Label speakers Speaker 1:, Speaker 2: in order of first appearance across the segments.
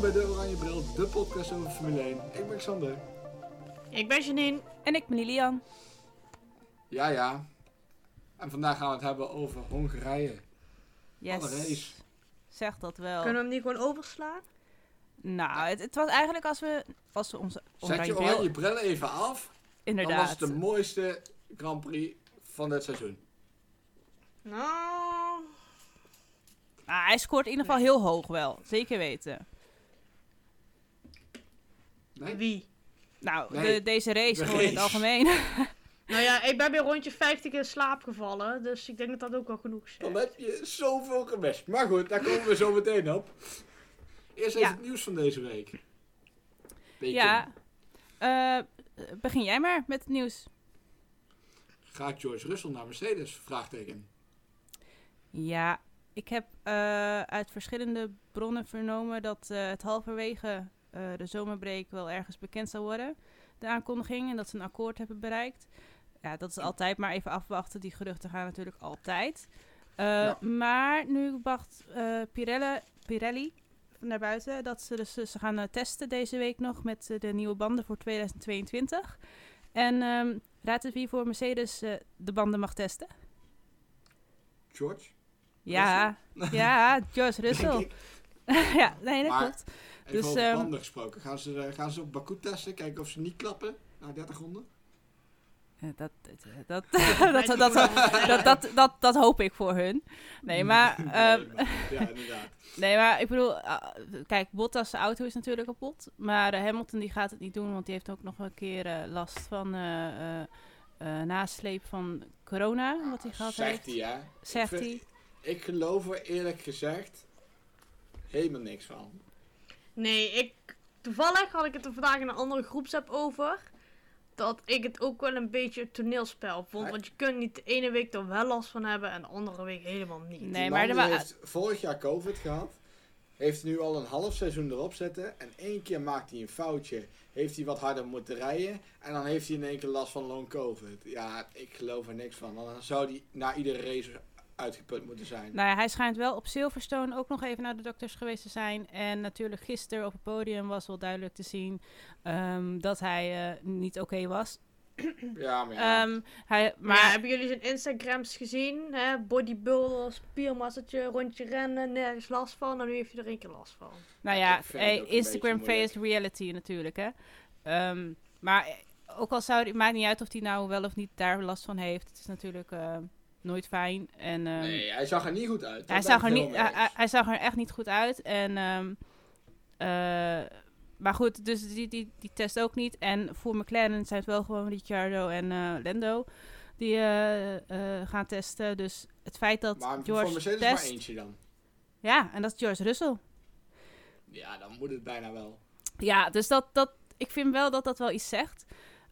Speaker 1: bij De Oranje Bril, de podcast over Formule 1. Ik ben Xander.
Speaker 2: Ik ben Janine.
Speaker 3: En ik ben Lilian.
Speaker 1: Ja, ja. En vandaag gaan we het hebben over Hongarije. Wat een race.
Speaker 3: Yes. Zeg dat wel.
Speaker 2: Kunnen we hem niet gewoon overslaan?
Speaker 3: Nou, het, het was eigenlijk als we, als we onze
Speaker 1: Zet je
Speaker 3: oranje
Speaker 1: oranje
Speaker 3: bril...
Speaker 1: bril even af. Dan was
Speaker 3: Inderdaad.
Speaker 1: het de mooiste Grand Prix van dit seizoen.
Speaker 2: Nou,
Speaker 3: Ah, hij scoort in ieder geval heel hoog wel. Zeker weten.
Speaker 1: Nee?
Speaker 2: wie?
Speaker 3: Nou,
Speaker 1: Nee.
Speaker 3: de, deze race
Speaker 1: De
Speaker 3: gewoon in het
Speaker 1: race.
Speaker 3: algemeen.
Speaker 2: Nou ja, ik ben bij rondje 50 in slaap gevallen, dus ik denk dat dat ook wel genoeg is.
Speaker 1: Dan heb je zoveel gemist. Maar goed, daar komen we zo meteen op. Eerst even
Speaker 3: Ja.
Speaker 1: het nieuws van deze week. Beetje.
Speaker 3: ja. Eh, begin jij maar met het nieuws.
Speaker 1: Gaat George Russell naar Mercedes? Vraagteken.
Speaker 3: Ja, ik heb eh, uit verschillende bronnen vernomen dat eh, het halverwege eh, de zomerbreak wel ergens bekend zal worden. De aankondiging en dat ze een akkoord hebben bereikt. Ja, dat is altijd maar even afwachten. Die geruchten gaan natuurlijk altijd. Eh,
Speaker 1: Ja.
Speaker 3: Maar nu bracht eh Pirelli, Pirelli naar buiten dat ze dus ze gaan eh, testen deze week nog met eh, de nieuwe banden voor 2022. En ehm, raad eens wie voor Mercedes eh, de banden mag testen.
Speaker 1: George?
Speaker 3: Ja, ja, George Russell.
Speaker 1: Denk ik.
Speaker 3: ja, nee, dat
Speaker 1: Maar-
Speaker 3: klopt.
Speaker 1: Even
Speaker 3: Dus,
Speaker 1: over
Speaker 3: ehm,
Speaker 1: banden gesproken. Gaan ze, eh, gaan ze op Baku testen? Kijken of ze niet klappen? Na 30 ronden?
Speaker 3: Eh, Dat, dat, dat, dat, dat, dat, dat, dat, dat hoop ik voor hun. Nee, maar, ehm,
Speaker 1: Nee, maar- ja, inderdaad.
Speaker 3: nee, maar ik bedoel, ah, kijk, Bottas' auto is natuurlijk kapot. Maar eh, Hamilton die gaat het niet doen, want die heeft ook nog een keer eh, last van eh, eh, eh, nasleep van corona. Wat hij gehad
Speaker 1: Zegt
Speaker 3: heeft.
Speaker 1: hij, hè?
Speaker 3: Zegt
Speaker 1: Ik
Speaker 3: hij.
Speaker 1: vind- Ik geloof er eerlijk gezegd helemaal niks van.
Speaker 2: Nee, ik, toevallig had ik het er vandaag in een andere groepsapp over. Dat ik het ook wel een beetje een toneelspel vond. Want je kunt niet de ene week er wel last van hebben en de andere week helemaal niet.
Speaker 3: Nee.
Speaker 1: Die
Speaker 3: maar
Speaker 1: man
Speaker 3: er
Speaker 1: die
Speaker 3: wa-
Speaker 1: heeft vorig jaar COVID gehad. Heeft nu al een half seizoen erop zitten. En één keer maakt hij een foutje. Heeft hij wat harder moeten rijden. En dan heeft hij in één keer last van long COVID. Ja, ik geloof er niks van. Dan zou hij na iedere race uitgeput moeten zijn.
Speaker 3: Nou ja, hij schijnt wel op Silverstone ook nog even naar de dokters geweest te zijn. En natuurlijk gisteren op het podium was wel duidelijk te zien ehm, dat hij eh, niet oké was.
Speaker 1: Ja, maar ja.
Speaker 3: Ehm, hij,
Speaker 2: Maar
Speaker 3: maar
Speaker 2: hebben jullie zijn Instagrams gezien? Hè? Bodybuilder, spiermassertje, rondje rennen, nergens last van. En nu heeft hij er één keer last van.
Speaker 3: nou
Speaker 1: ik
Speaker 3: ja,
Speaker 1: vind het
Speaker 3: hey,
Speaker 1: ook een
Speaker 3: Instagram
Speaker 1: beetje moeilijk.
Speaker 3: faced reality natuurlijk, hè. Ehm, maar eh, ook al zou het maakt niet uit of hij nou wel of niet daar last van heeft. Het is natuurlijk eh, nooit fijn. En, ehm,
Speaker 1: nee, hij zag er niet goed uit.
Speaker 3: hij,
Speaker 1: Daar
Speaker 3: zag
Speaker 1: ben
Speaker 3: er
Speaker 1: ik
Speaker 3: niet,
Speaker 1: helemaal
Speaker 3: hij,
Speaker 1: mee
Speaker 3: hij-
Speaker 1: eens.
Speaker 3: hij zag er echt niet goed uit. En, ehm, eh, maar goed, dus die, die, die test ook niet. En voor McLaren zijn het wel gewoon Ricciardo en eh, Lando die eh, eh, gaan testen. Dus het feit dat
Speaker 1: Maar voor
Speaker 3: George
Speaker 1: Mercedes
Speaker 3: test...
Speaker 1: maar eentje dan.
Speaker 3: Ja, en dat is George Russell.
Speaker 1: Ja, dan moet het bijna wel.
Speaker 3: Ja, dus dat, dat, ik vind wel dat dat wel iets zegt.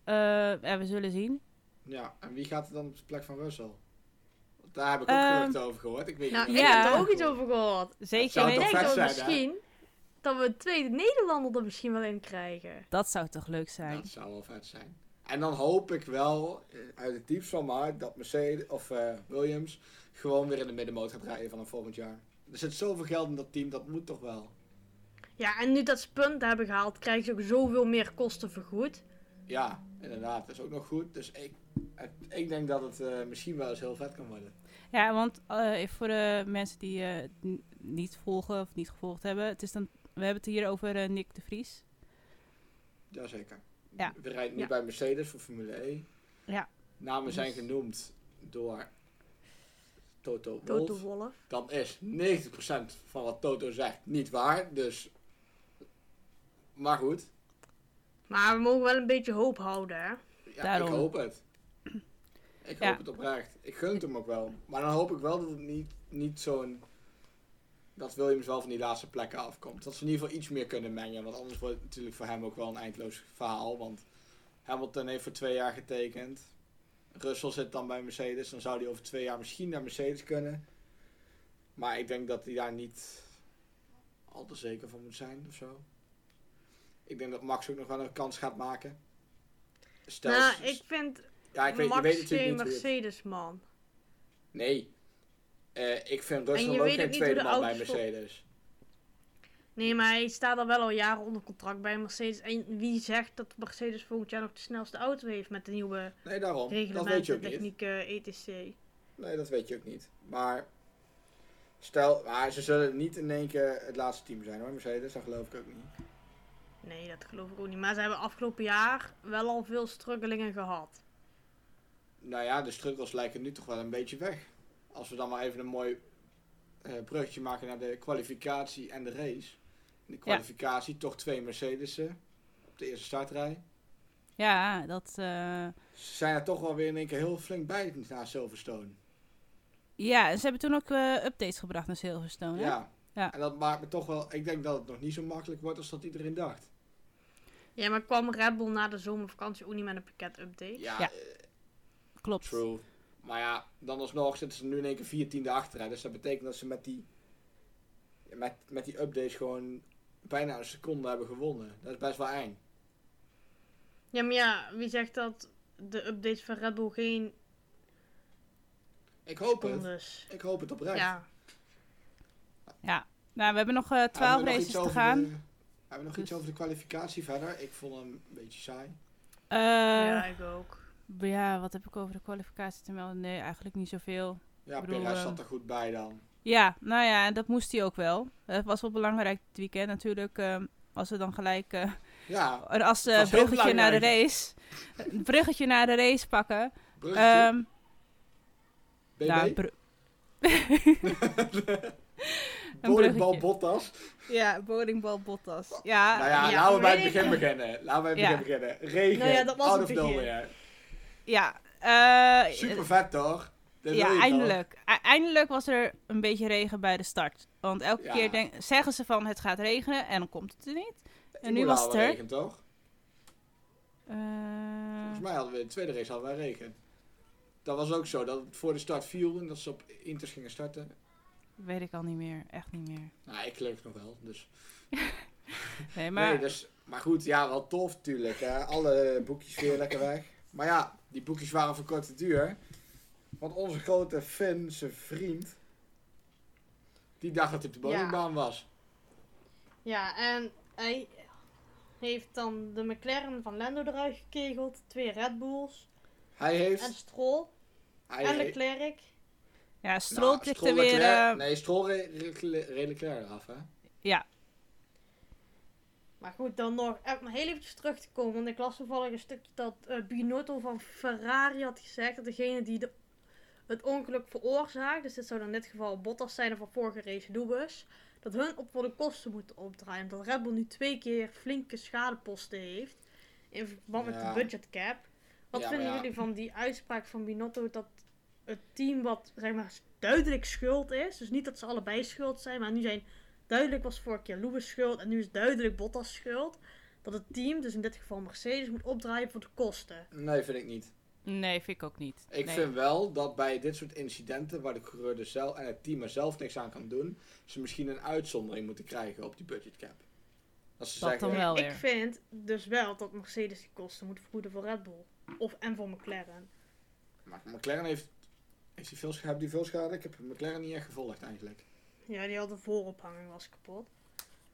Speaker 3: Eh, ja, we zullen zien.
Speaker 1: Ja, en wie gaat er dan op de plek van Russell? Want daar heb ik ook
Speaker 3: Ehm,
Speaker 1: geruchten over gehoord. Ik weet
Speaker 2: Nou,
Speaker 1: niet.
Speaker 2: ik
Speaker 3: Ja.
Speaker 2: heb er ook iets over gehoord.
Speaker 3: Zeker
Speaker 1: Zou
Speaker 2: Ik
Speaker 1: toch
Speaker 3: weten.
Speaker 2: denk
Speaker 1: vet
Speaker 2: dat we
Speaker 1: zijn, hè?
Speaker 2: misschien dat we een tweede Nederlander er misschien wel in krijgen.
Speaker 3: Dat zou toch leuk zijn.
Speaker 1: Dat zou wel vet zijn. En dan hoop ik wel, eh, uit het diepst van mijn hart, dat Mercedes of eh, Williams gewoon weer in de middenmoot gaat rijden vanaf volgend jaar. Er zit zoveel geld in dat team, dat moet toch wel.
Speaker 2: Ja, en nu dat ze punten hebben gehaald, krijgen ze ook zoveel meer kosten vergoed.
Speaker 1: Ja, inderdaad, dat is ook nog goed. Dus ik, het- ik denk dat het eh, misschien wel eens heel vet kan worden.
Speaker 3: Ja, want eh, even voor de mensen die eh, het n- niet volgen of niet gevolgd hebben. Het is dan, we hebben het hier over eh, Nick de Vries.
Speaker 1: Jazeker.
Speaker 3: Ja.
Speaker 1: We rijden nu
Speaker 2: Ja.
Speaker 1: bij Mercedes voor Formule E.
Speaker 3: Ja.
Speaker 1: Namen zijn
Speaker 3: Dus-
Speaker 1: genoemd door Toto Wolff.
Speaker 2: Toto Wolf.
Speaker 1: dan is 90% van wat Toto zegt niet waar. Dus. Maar goed.
Speaker 2: Maar we mogen wel een beetje hoop houden, hè.
Speaker 1: Ja,
Speaker 3: Daarom.
Speaker 1: Ik hoop het. Ik
Speaker 3: Ja.
Speaker 1: hoop het oprecht. Ik gun het hem ook wel. Maar dan hoop ik wel dat het niet, niet zo'n. Dat Williams wel van die laatste plekken afkomt. Dat ze in ieder geval iets meer kunnen mengen. Want anders wordt het natuurlijk voor hem ook wel een eindloos verhaal. Want Hamilton heeft voor twee jaar getekend. Russell zit dan bij Mercedes. Dan zou hij over twee jaar misschien naar Mercedes kunnen. Maar ik denk dat hij daar niet al te zeker van moet zijn of zo. Ik denk dat Max ook nog wel een kans gaat maken. Stel,
Speaker 2: nou, ik vind
Speaker 1: ja, ik weet, je
Speaker 2: Max
Speaker 1: weet natuurlijk
Speaker 2: geen
Speaker 1: niet hoe het-
Speaker 2: Mercedes, man.
Speaker 1: Nee. Eh, ik vind
Speaker 2: En
Speaker 1: Russell
Speaker 2: je
Speaker 1: ook
Speaker 2: weet ook
Speaker 1: geen
Speaker 2: niet hoe
Speaker 1: tweede
Speaker 2: de
Speaker 1: man bij
Speaker 2: auto's vol-
Speaker 1: Mercedes.
Speaker 2: Nee, maar hij staat al wel al jaren onder contract bij Mercedes. En wie zegt dat Mercedes volgend jaar nog de snelste auto heeft met de nieuwe
Speaker 1: Nee, daarom. Dat weet je
Speaker 2: reglementen, eh,
Speaker 1: ook niet.
Speaker 2: technieken, etc.
Speaker 1: Nee, dat weet je ook niet. Maar stel, maar ze zullen niet in één keer het laatste team zijn hoor, Mercedes. Dat geloof ik ook niet.
Speaker 2: Nee, dat geloof ik ook niet. Maar ze hebben afgelopen jaar wel al veel struggelingen gehad.
Speaker 1: Nou ja, de struggles lijken nu toch wel een beetje weg. Als we dan maar even een mooi eh bruggetje maken naar de kwalificatie en de race. In de kwalificatie toch twee Mercedes'en op de eerste startrij.
Speaker 3: Ja, dat. eh,
Speaker 1: Ze zijn er toch wel weer in één keer heel flink bij na Silverstone.
Speaker 3: Ja, ze hebben toen ook eh, updates gebracht naar Silverstone. Oh, hè?
Speaker 1: Ja.
Speaker 3: Ja.
Speaker 1: En dat maakt me toch wel... Ik denk dat het nog niet zo makkelijk wordt als dat iedereen dacht.
Speaker 2: Ja, maar kwam Red Bull na de zomervakantie ook niet met een pakket-update?
Speaker 1: Ja,
Speaker 3: Ja.
Speaker 1: eh,
Speaker 3: Klopt.
Speaker 1: true. Maar ja, dan alsnog zitten ze nu in één keer vier tiende achter. Hè. Dus dat betekent dat ze met die, met, met die updates gewoon bijna een seconde hebben gewonnen. Dat is best wel eng.
Speaker 2: Ja, maar ja, wie zegt dat de updates van Red Bull geen
Speaker 1: Ik hoop het.
Speaker 2: rondes...
Speaker 1: Ik hoop het oprecht.
Speaker 2: Ja,
Speaker 3: Nou, we hebben nog eh, 12
Speaker 1: Hebben we nog
Speaker 3: races
Speaker 1: iets
Speaker 3: te
Speaker 1: over
Speaker 3: gaan.
Speaker 1: de- hebben we nog iets
Speaker 3: Dus-
Speaker 1: over de kwalificatie verder? Ik vond hem een beetje saai.
Speaker 3: Eh,
Speaker 2: ja,
Speaker 3: ja.
Speaker 2: ik ook.
Speaker 3: wat heb ik over de kwalificatie te melden? Nee, eigenlijk niet zoveel.
Speaker 1: Ja,
Speaker 3: Ik bedoel,
Speaker 1: Perez
Speaker 3: ehm,
Speaker 1: zat er goed bij dan.
Speaker 3: Ja, nou ja, en dat moest hij ook wel. Het was wel belangrijk dit weekend natuurlijk. ehm, als we dan gelijk eh,
Speaker 1: Ja,
Speaker 3: een als eh,
Speaker 1: was heel
Speaker 3: bruggetje naar de
Speaker 1: belangrijk.
Speaker 3: race. Een bruggetje naar de race pakken.
Speaker 1: bruggetje,
Speaker 3: Ehm,
Speaker 1: BB,
Speaker 3: nou, br-
Speaker 1: volleybal
Speaker 3: bruggetje.
Speaker 1: Bottas.
Speaker 3: ja, bowlingbal Bottas. Ja,
Speaker 1: nou ja,
Speaker 2: ja,
Speaker 1: laten we bij het
Speaker 2: weet
Speaker 1: begin beginnen. Laten we bij het
Speaker 3: Ja.
Speaker 1: begin beginnen. Regen,
Speaker 2: Nou ja, dat was
Speaker 1: out
Speaker 2: het
Speaker 1: of nowhere.
Speaker 2: begin.
Speaker 3: ja. eh,
Speaker 1: Super vet toch? Dit wil je
Speaker 3: Ja,
Speaker 1: toch?
Speaker 3: eindelijk. E- Eindelijk was er een beetje regen bij de start. Want elke
Speaker 1: Ja.
Speaker 3: keer denk- zeggen ze van het gaat regenen en dan komt het er niet. En nu
Speaker 1: Imola
Speaker 3: was het
Speaker 1: hadden
Speaker 3: er.
Speaker 1: regen, toch?
Speaker 3: Eh,
Speaker 1: Volgens mij hadden we in de tweede race hadden wij regen. Dat was ook zo, dat het voor de start viel en dat ze op Inters gingen starten.
Speaker 3: weet ik al niet meer. Echt niet meer.
Speaker 1: Nou, ik gelukkig nog wel. Dus.
Speaker 3: Nee, maar
Speaker 1: Nee, dus, maar goed, ja, wel tof natuurlijk. Hè. Alle boekjes weer lekker weg. Maar ja, die boekjes waren van korte duur. Want onze grote fan, zijn vriend, die dacht dat hij op de
Speaker 2: Ja.
Speaker 1: bowlingbaan was.
Speaker 2: Ja, en hij heeft dan de McLaren van Lando eruit gekegeld. Twee Red Bulls.
Speaker 1: Hij
Speaker 2: En
Speaker 1: heeft...
Speaker 2: Stroll.
Speaker 1: Hij
Speaker 2: en
Speaker 1: heeft-
Speaker 2: Leclerc.
Speaker 3: ja,
Speaker 1: nou,
Speaker 3: Stroll tikte
Speaker 1: Stroll
Speaker 3: weer...
Speaker 1: Leclerc-
Speaker 3: eh,
Speaker 1: Nee, Stroll reed re, re, Leclerc af, hè?
Speaker 2: Maar goed, dan nog even maar heel eventjes terug te komen. Want ik las toevallig een stukje dat eh, Binotto van Ferrari had gezegd dat degene die de, het ongeluk veroorzaakt, dus dit zou dan in dit geval Bottas zijn van vorige race Lewis, dat hun op voor de kosten moeten opdraaien. Omdat Red Bull nu twee keer flinke schadeposten heeft in verband met
Speaker 1: Ja.
Speaker 2: de budgetcap. Wat
Speaker 1: Ja, maar ja.
Speaker 2: vinden jullie van die uitspraak van Binotto dat het team wat zeg maar duidelijk schuld is, dus niet dat ze allebei schuld zijn, maar nu zijn duidelijk was vorige keer Lewis schuld en nu is duidelijk Bottas schuld. Dat het team, dus in dit geval Mercedes, moet opdraaien voor de kosten.
Speaker 1: Nee, vind ik niet.
Speaker 3: Nee, vind ik ook niet.
Speaker 1: Ik
Speaker 3: Nee.
Speaker 1: vind wel dat bij dit soort incidenten, waar de coureur er zelf en het team er zelf niks aan kan doen, ze misschien een uitzondering moeten krijgen op die budgetcap. Als ze
Speaker 3: Dat
Speaker 1: zeggen,
Speaker 3: dan wel
Speaker 2: ik
Speaker 3: weer.
Speaker 2: vind dus wel dat Mercedes die kosten moet vergoeden voor Red Bull. Of en voor McLaren.
Speaker 1: maar McLaren heeft, heeft die veel, scha- hebben die veel schade? Ik heb McLaren niet echt gevolgd eigenlijk.
Speaker 2: Ja, die had de voorophanging was kapot.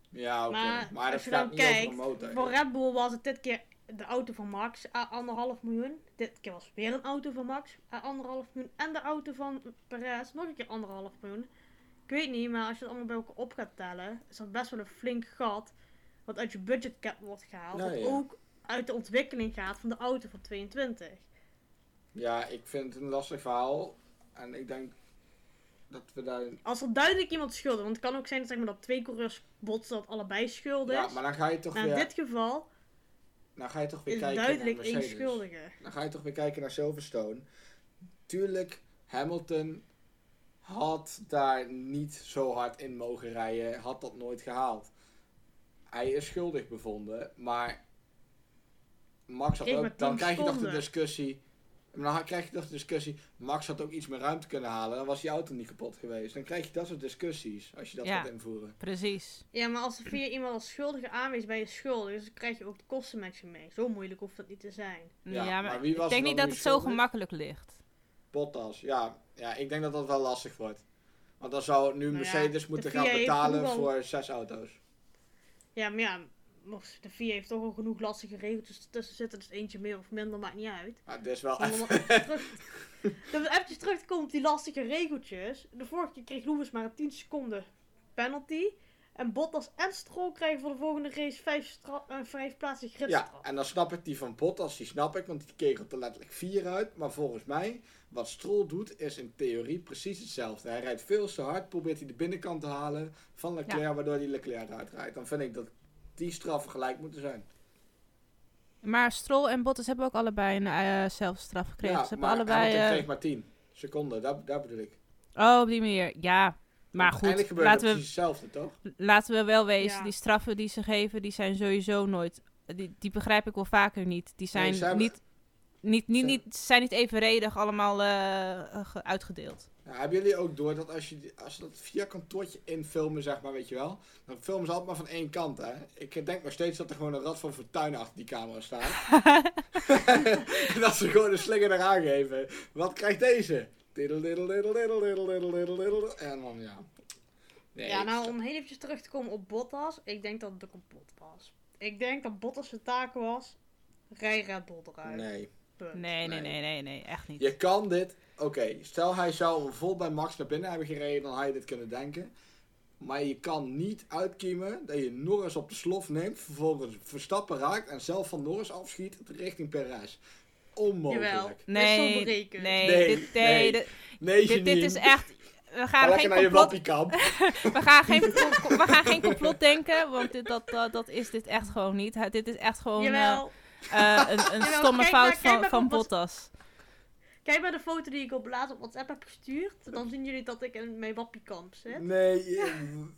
Speaker 1: Ja, oké.
Speaker 2: Maar,
Speaker 1: Maar, dat
Speaker 2: als je
Speaker 1: gaat
Speaker 2: dan
Speaker 1: niet over
Speaker 2: kijkt,
Speaker 1: een motor.
Speaker 2: voor Red Bull was het dit keer de auto van Max à anderhalf miljoen. Dit keer was het weer een auto van Max à anderhalf miljoen. En de auto van Perez nog een keer anderhalf miljoen. Ik weet niet, maar als je het allemaal bij elkaar op gaat tellen, is dat best wel een flink gat. Wat uit je budgetcap wordt gehaald.
Speaker 1: Nou
Speaker 2: wat
Speaker 1: ja.
Speaker 2: ook uit de ontwikkeling gaat van de auto van 22.
Speaker 1: Ja, ik vind het een lastig verhaal. En ik denk dat we daar...
Speaker 2: Als er duidelijk iemand schuldig want het kan ook zijn dat, zeg maar, dat twee coureurs botsen dat allebei schuldig
Speaker 1: Ja,
Speaker 2: is.
Speaker 1: maar dan ga je toch
Speaker 2: maar in
Speaker 1: weer,
Speaker 2: dit geval
Speaker 1: dan ga je toch weer
Speaker 2: is
Speaker 1: kijken
Speaker 2: duidelijk
Speaker 1: naar
Speaker 2: één
Speaker 1: Mercedes.
Speaker 2: schuldige.
Speaker 1: Dan ga je toch weer kijken naar Silverstone. Tuurlijk, Hamilton had daar niet zo hard in mogen rijden. Had dat nooit gehaald. Hij is schuldig bevonden, maar Max had
Speaker 2: Kreeg
Speaker 1: ook...
Speaker 2: maar
Speaker 1: Dan
Speaker 2: tien
Speaker 1: krijg je toch de
Speaker 2: seconden.
Speaker 1: discussie... maar Dan krijg je toch de discussie, Max had ook iets meer ruimte kunnen halen. Dan was die auto niet kapot geweest. Dan krijg je dat soort discussies, als je dat
Speaker 3: Ja.
Speaker 1: gaat invoeren.
Speaker 3: Precies.
Speaker 2: Ja, maar als er via iemand als schuldige aanwezig bij je schuldig, dus dan krijg je ook de kosten met je mee. Zo moeilijk hoeft dat niet te zijn.
Speaker 1: Ja,
Speaker 3: Ja,
Speaker 1: maar
Speaker 3: maar,
Speaker 1: wie was
Speaker 3: ik denk
Speaker 1: er
Speaker 3: niet
Speaker 1: dan
Speaker 3: dat
Speaker 1: nu
Speaker 3: het zo
Speaker 1: schuldig?
Speaker 3: gemakkelijk ligt.
Speaker 1: Bottas, ja. Ja, ik denk dat dat wel lastig wordt. Want dan zou nu
Speaker 2: ja,
Speaker 3: Nou
Speaker 1: Mercedes
Speaker 2: de
Speaker 1: moeten
Speaker 2: VIA
Speaker 1: gaan
Speaker 2: heeft
Speaker 1: betalen
Speaker 2: gewoon-
Speaker 1: voor zes auto's.
Speaker 2: Ja, maar ja, mocht- de VIA heeft toch al genoeg lastige regeltjes tussen zitten. Dus eentje meer of minder maakt niet uit.
Speaker 1: Maar dit is wel
Speaker 2: Om nog
Speaker 1: echt...
Speaker 2: even terug, om even terug te komen op die lastige regeltjes. De vorige keer kreeg Lewis maar een 10 seconden penalty. En Bottas en Stroll krijgen voor de volgende race 5, stra- eh, vijf plaatsen
Speaker 1: Ja,
Speaker 2: gridstraf.
Speaker 1: en dan snap ik die van Bottas, die snap ik, want die kegelt er letterlijk vier uit. Maar volgens mij, wat Stroll doet, is in theorie precies hetzelfde. Hij rijdt veel te hard, probeert hij de binnenkant te halen van Leclerc, waardoor hij Leclerc uitrijdt. Dan vind ik dat die straffen gelijk moeten zijn.
Speaker 3: Maar Stroll en Bottas hebben ook allebei een eh zelfstraf gekregen. Ze hebben
Speaker 1: maar
Speaker 3: allebei...
Speaker 1: Hamilton
Speaker 3: eh,
Speaker 1: kreeg maar 10 seconden, daar, daar bedoel ik.
Speaker 3: Oh, op die manier. Ja, maar
Speaker 1: Eigenlijk
Speaker 3: goed.
Speaker 1: gebeurt dus het
Speaker 3: Laten we,
Speaker 1: precies hetzelfde, toch?
Speaker 3: laten we wel wezen.
Speaker 2: Ja.
Speaker 3: Die straffen die ze geven, die zijn sowieso nooit... Die, die begrijp ik wel vaker niet. Die zijn,
Speaker 1: Nee, ze hebben-
Speaker 3: niet, niet, niet,
Speaker 1: ze-
Speaker 3: niet, zijn niet evenredig allemaal eh, ge- uitgedeeld.
Speaker 1: Nou, hebben jullie ook door dat als je die- als ze dat via kantoortje infilmen, zeg maar, weet je wel, dan filmen ze altijd maar van één kant, hè? Ik denk nog steeds dat er gewoon een rad van fortuin achter die camera staat. en dat ze gewoon een slinger eraan geven. Wat krijgt deze? Diddle, diddle, diddle, diddle, diddle, diddle, diddle, diddle. En dan, ja. Nee,
Speaker 2: ja,
Speaker 1: ik-
Speaker 2: nou om heel eventjes terug te komen op Bottas. Ik denk dat het de kapot was. Ik denk dat Bottas zijn taak was. Rij Red Bull eruit.
Speaker 1: Nee.
Speaker 2: Punt.
Speaker 3: Nee, nee,
Speaker 1: Nee.
Speaker 3: nee, nee, nee. Echt niet.
Speaker 1: Je kan dit... Oké, stel hij zou hem vol bij Max naar binnen hebben gereden, dan had je dit kunnen denken. Maar je kan niet uitkiemen dat je Norris op de slof neemt, vervolgens Verstappen raakt en zelf van Norris afschiet richting Perez. Onmogelijk.
Speaker 2: Jawel. Dit is zo
Speaker 3: Nee, nee,
Speaker 2: berekend.
Speaker 1: Nee,
Speaker 3: dit, nee,
Speaker 1: nee.
Speaker 3: dit,
Speaker 1: Nee,
Speaker 3: dit,
Speaker 1: je
Speaker 3: dit is echt... We
Speaker 1: Ga
Speaker 3: gaan,
Speaker 1: lekker
Speaker 3: geen
Speaker 1: naar je
Speaker 3: complot,
Speaker 1: wappiekamp.
Speaker 3: we, gaan geen, we gaan geen complot denken, want dit, dat, dat, dat is dit echt gewoon niet. Hij- Dit is echt gewoon eh,
Speaker 2: Jawel.
Speaker 3: eh, een, een
Speaker 2: Jawel,
Speaker 3: stomme
Speaker 2: kijk maar-
Speaker 3: fout
Speaker 2: kijk
Speaker 3: van,
Speaker 2: maar
Speaker 3: van
Speaker 2: op wat-
Speaker 3: Bottas.
Speaker 2: Kijk maar de foto die ik op laatst op WhatsApp heb gestuurd. Dan zien jullie dat ik in mijn wappiekamp zit.
Speaker 1: Nee, eh, je-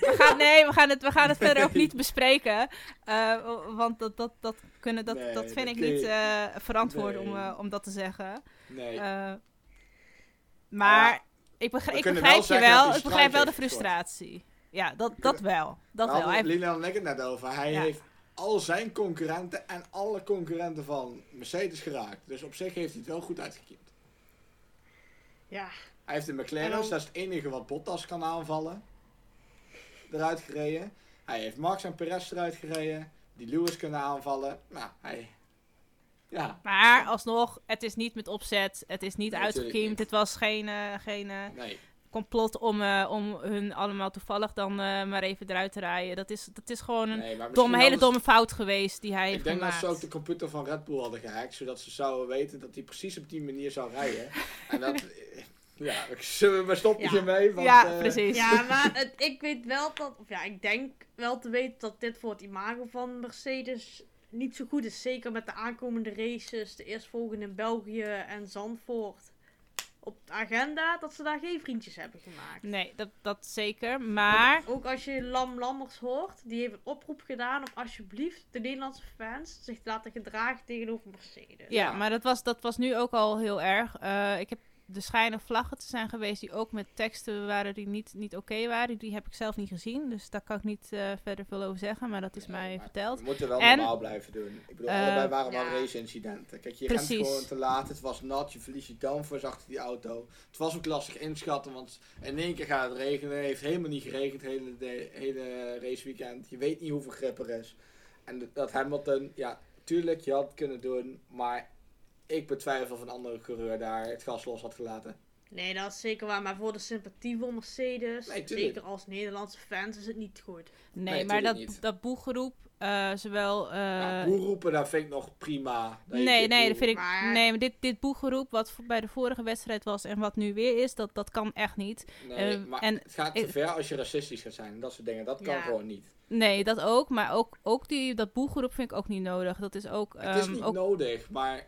Speaker 3: We gaan, nee, we gaan het, we gaan het verder ook niet bespreken. eh, want dat, dat, dat, kunnen, dat,
Speaker 1: Nee,
Speaker 3: dat vind
Speaker 1: dat
Speaker 3: ik
Speaker 1: kun je-
Speaker 3: niet eh, verantwoord om,
Speaker 1: Nee.
Speaker 3: eh, om dat te zeggen.
Speaker 1: nee.
Speaker 3: Eh, maar
Speaker 1: Ja.
Speaker 3: ik, begrijp-
Speaker 1: We
Speaker 3: ik
Speaker 1: kunnen
Speaker 3: begrijp
Speaker 1: wel
Speaker 3: je
Speaker 1: zeggen dat
Speaker 3: wel.
Speaker 1: hij
Speaker 3: Ik begrijp wel de
Speaker 1: strijd heeft gestort.
Speaker 3: frustratie. Ja, dat, dat wel. Dat
Speaker 1: Nou,
Speaker 3: wel. Hij-
Speaker 1: Lina had het net over. Hij
Speaker 3: Ja.
Speaker 1: heeft al zijn concurrenten en alle concurrenten van Mercedes geraakt. Dus op zich heeft hij het wel goed uitgekiend.
Speaker 2: Ja.
Speaker 1: Hij heeft de
Speaker 2: En
Speaker 1: McLaren,
Speaker 2: dan-
Speaker 1: dus dat is het enige wat Bottas kan aanvallen. Eruit gereden. Hij heeft Max en Perez eruit gereden. Die Lewis kunnen aanvallen. Nou, hij... Ja,
Speaker 3: Maar alsnog, het is niet met opzet. Het is niet
Speaker 1: Nee, natuurlijk
Speaker 3: uitgekiemd.
Speaker 1: niet.
Speaker 3: Het was geen, eh, geen eh,
Speaker 1: nee.
Speaker 3: complot om, eh, om hun allemaal toevallig dan eh, maar even eruit te rijden. Dat is, dat is gewoon
Speaker 1: nee
Speaker 3: een
Speaker 1: maar misschien
Speaker 3: domme, hele
Speaker 1: hadden ze-
Speaker 3: domme fout geweest die hij heeft
Speaker 1: Ik denk dat
Speaker 3: gemaakt.
Speaker 1: ze ook de computer van Red Bull hadden gehackt. Zodat ze zouden weten dat hij precies op die manier zou rijden. en dat... eh, Ja, ik- zullen we maar stoppen
Speaker 2: Ja.
Speaker 1: hiermee? Want,
Speaker 3: ja,
Speaker 1: eh,
Speaker 3: precies.
Speaker 2: Ja, maar het- ik weet wel dat, of ja, ik denk wel te weten dat dit voor het imago van Mercedes niet zo goed is. Zeker met de aankomende races, de eerstvolgende in België en Zandvoort. Op de agenda dat ze daar geen vriendjes hebben gemaakt.
Speaker 3: Nee, dat, dat zeker. Maar
Speaker 2: Ook als je Lam Lammers hoort, die heeft een oproep gedaan om alsjeblieft de Nederlandse fans zich te laten gedragen tegenover Mercedes.
Speaker 3: Ja,
Speaker 1: Ja.
Speaker 3: maar dat was, dat was nu ook al heel erg. Eh, ik heb er schijnen vlaggen te zijn geweest die ook met teksten waren die niet, niet oké waren. Die heb ik zelf niet gezien, dus daar kan ik niet eh, verder veel over zeggen, maar dat is
Speaker 1: Nee,
Speaker 3: mij
Speaker 1: maar
Speaker 3: verteld.
Speaker 1: We moeten wel
Speaker 3: En-
Speaker 1: normaal blijven doen. Ik bedoel,
Speaker 3: Eh,
Speaker 1: allebei waren
Speaker 2: ja.
Speaker 1: wel race-incidenten. Kijk, je
Speaker 3: Precies.
Speaker 1: rent gewoon te laat. Het was nat. Je verliest je downforce achter die auto. Het was ook lastig inschatten, want in één keer gaat het regenen. Het heeft helemaal niet geregend het hele, de, hele raceweekend. Je weet niet hoeveel grip er is. En dat- dat Hamilton, ja, tuurlijk, je had het kunnen doen. Maar ik betwijfel of een andere coureur daar het gas los had gelaten.
Speaker 2: Nee, dat is zeker waar. Maar voor de sympathie voor Mercedes,
Speaker 1: Nee, tuurlijk.
Speaker 2: zeker als Nederlandse fans, is het niet goed.
Speaker 3: Nee,
Speaker 1: Nee,
Speaker 3: maar dat,
Speaker 1: tuurlijk niet.
Speaker 3: dat boegeroep, eh, zowel... eh,
Speaker 1: Ja, hoe roepen, dat vind ik nog prima. Dat je
Speaker 3: nee,
Speaker 1: dit
Speaker 3: nee, dat
Speaker 1: doet.
Speaker 3: vind ik.
Speaker 2: maar-
Speaker 3: Nee, maar dit, dit boegeroep, wat voor- bij de vorige wedstrijd was en wat nu weer is, dat, dat kan echt niet.
Speaker 1: Nee,
Speaker 3: eh,
Speaker 1: maar
Speaker 3: en
Speaker 1: het gaat
Speaker 3: ik-
Speaker 1: te ver als je racistisch gaat zijn. en Dat soort dingen, dat kan
Speaker 2: Ja.
Speaker 1: gewoon niet.
Speaker 3: Nee, dat ook. Maar ook, ook die, dat boegeroep vind ik ook niet nodig. Dat is ook.
Speaker 1: Het is
Speaker 3: ehm,
Speaker 1: niet
Speaker 3: ook
Speaker 1: nodig, maar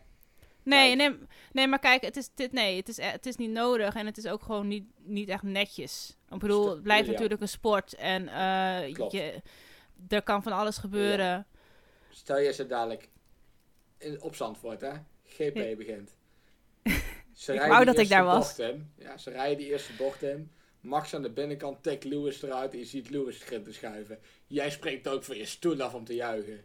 Speaker 3: Nee,
Speaker 1: Kijk.
Speaker 3: nee, nee, maar kijk, het is, dit, nee, het, is, eh, het is niet nodig en het is ook gewoon niet, niet echt netjes. Ik bedoel,
Speaker 1: Sta-
Speaker 3: het blijft
Speaker 1: ja.
Speaker 3: natuurlijk een sport en eh,
Speaker 1: Klopt.
Speaker 3: je, er kan van alles gebeuren.
Speaker 1: stel je ze dadelijk in, op Zandvoort, hè? GP
Speaker 3: Ja.
Speaker 1: begint. Ze
Speaker 3: Ik
Speaker 1: rijden
Speaker 3: wou
Speaker 1: die
Speaker 3: dat ik daar
Speaker 1: eerste
Speaker 3: was.
Speaker 1: bocht in. Ja, ze rijden die eerste bocht in. Max aan de binnenkant tikt Lewis eruit en je ziet Lewis het grind te schuiven. Jij springt ook van je stoel af om te juichen.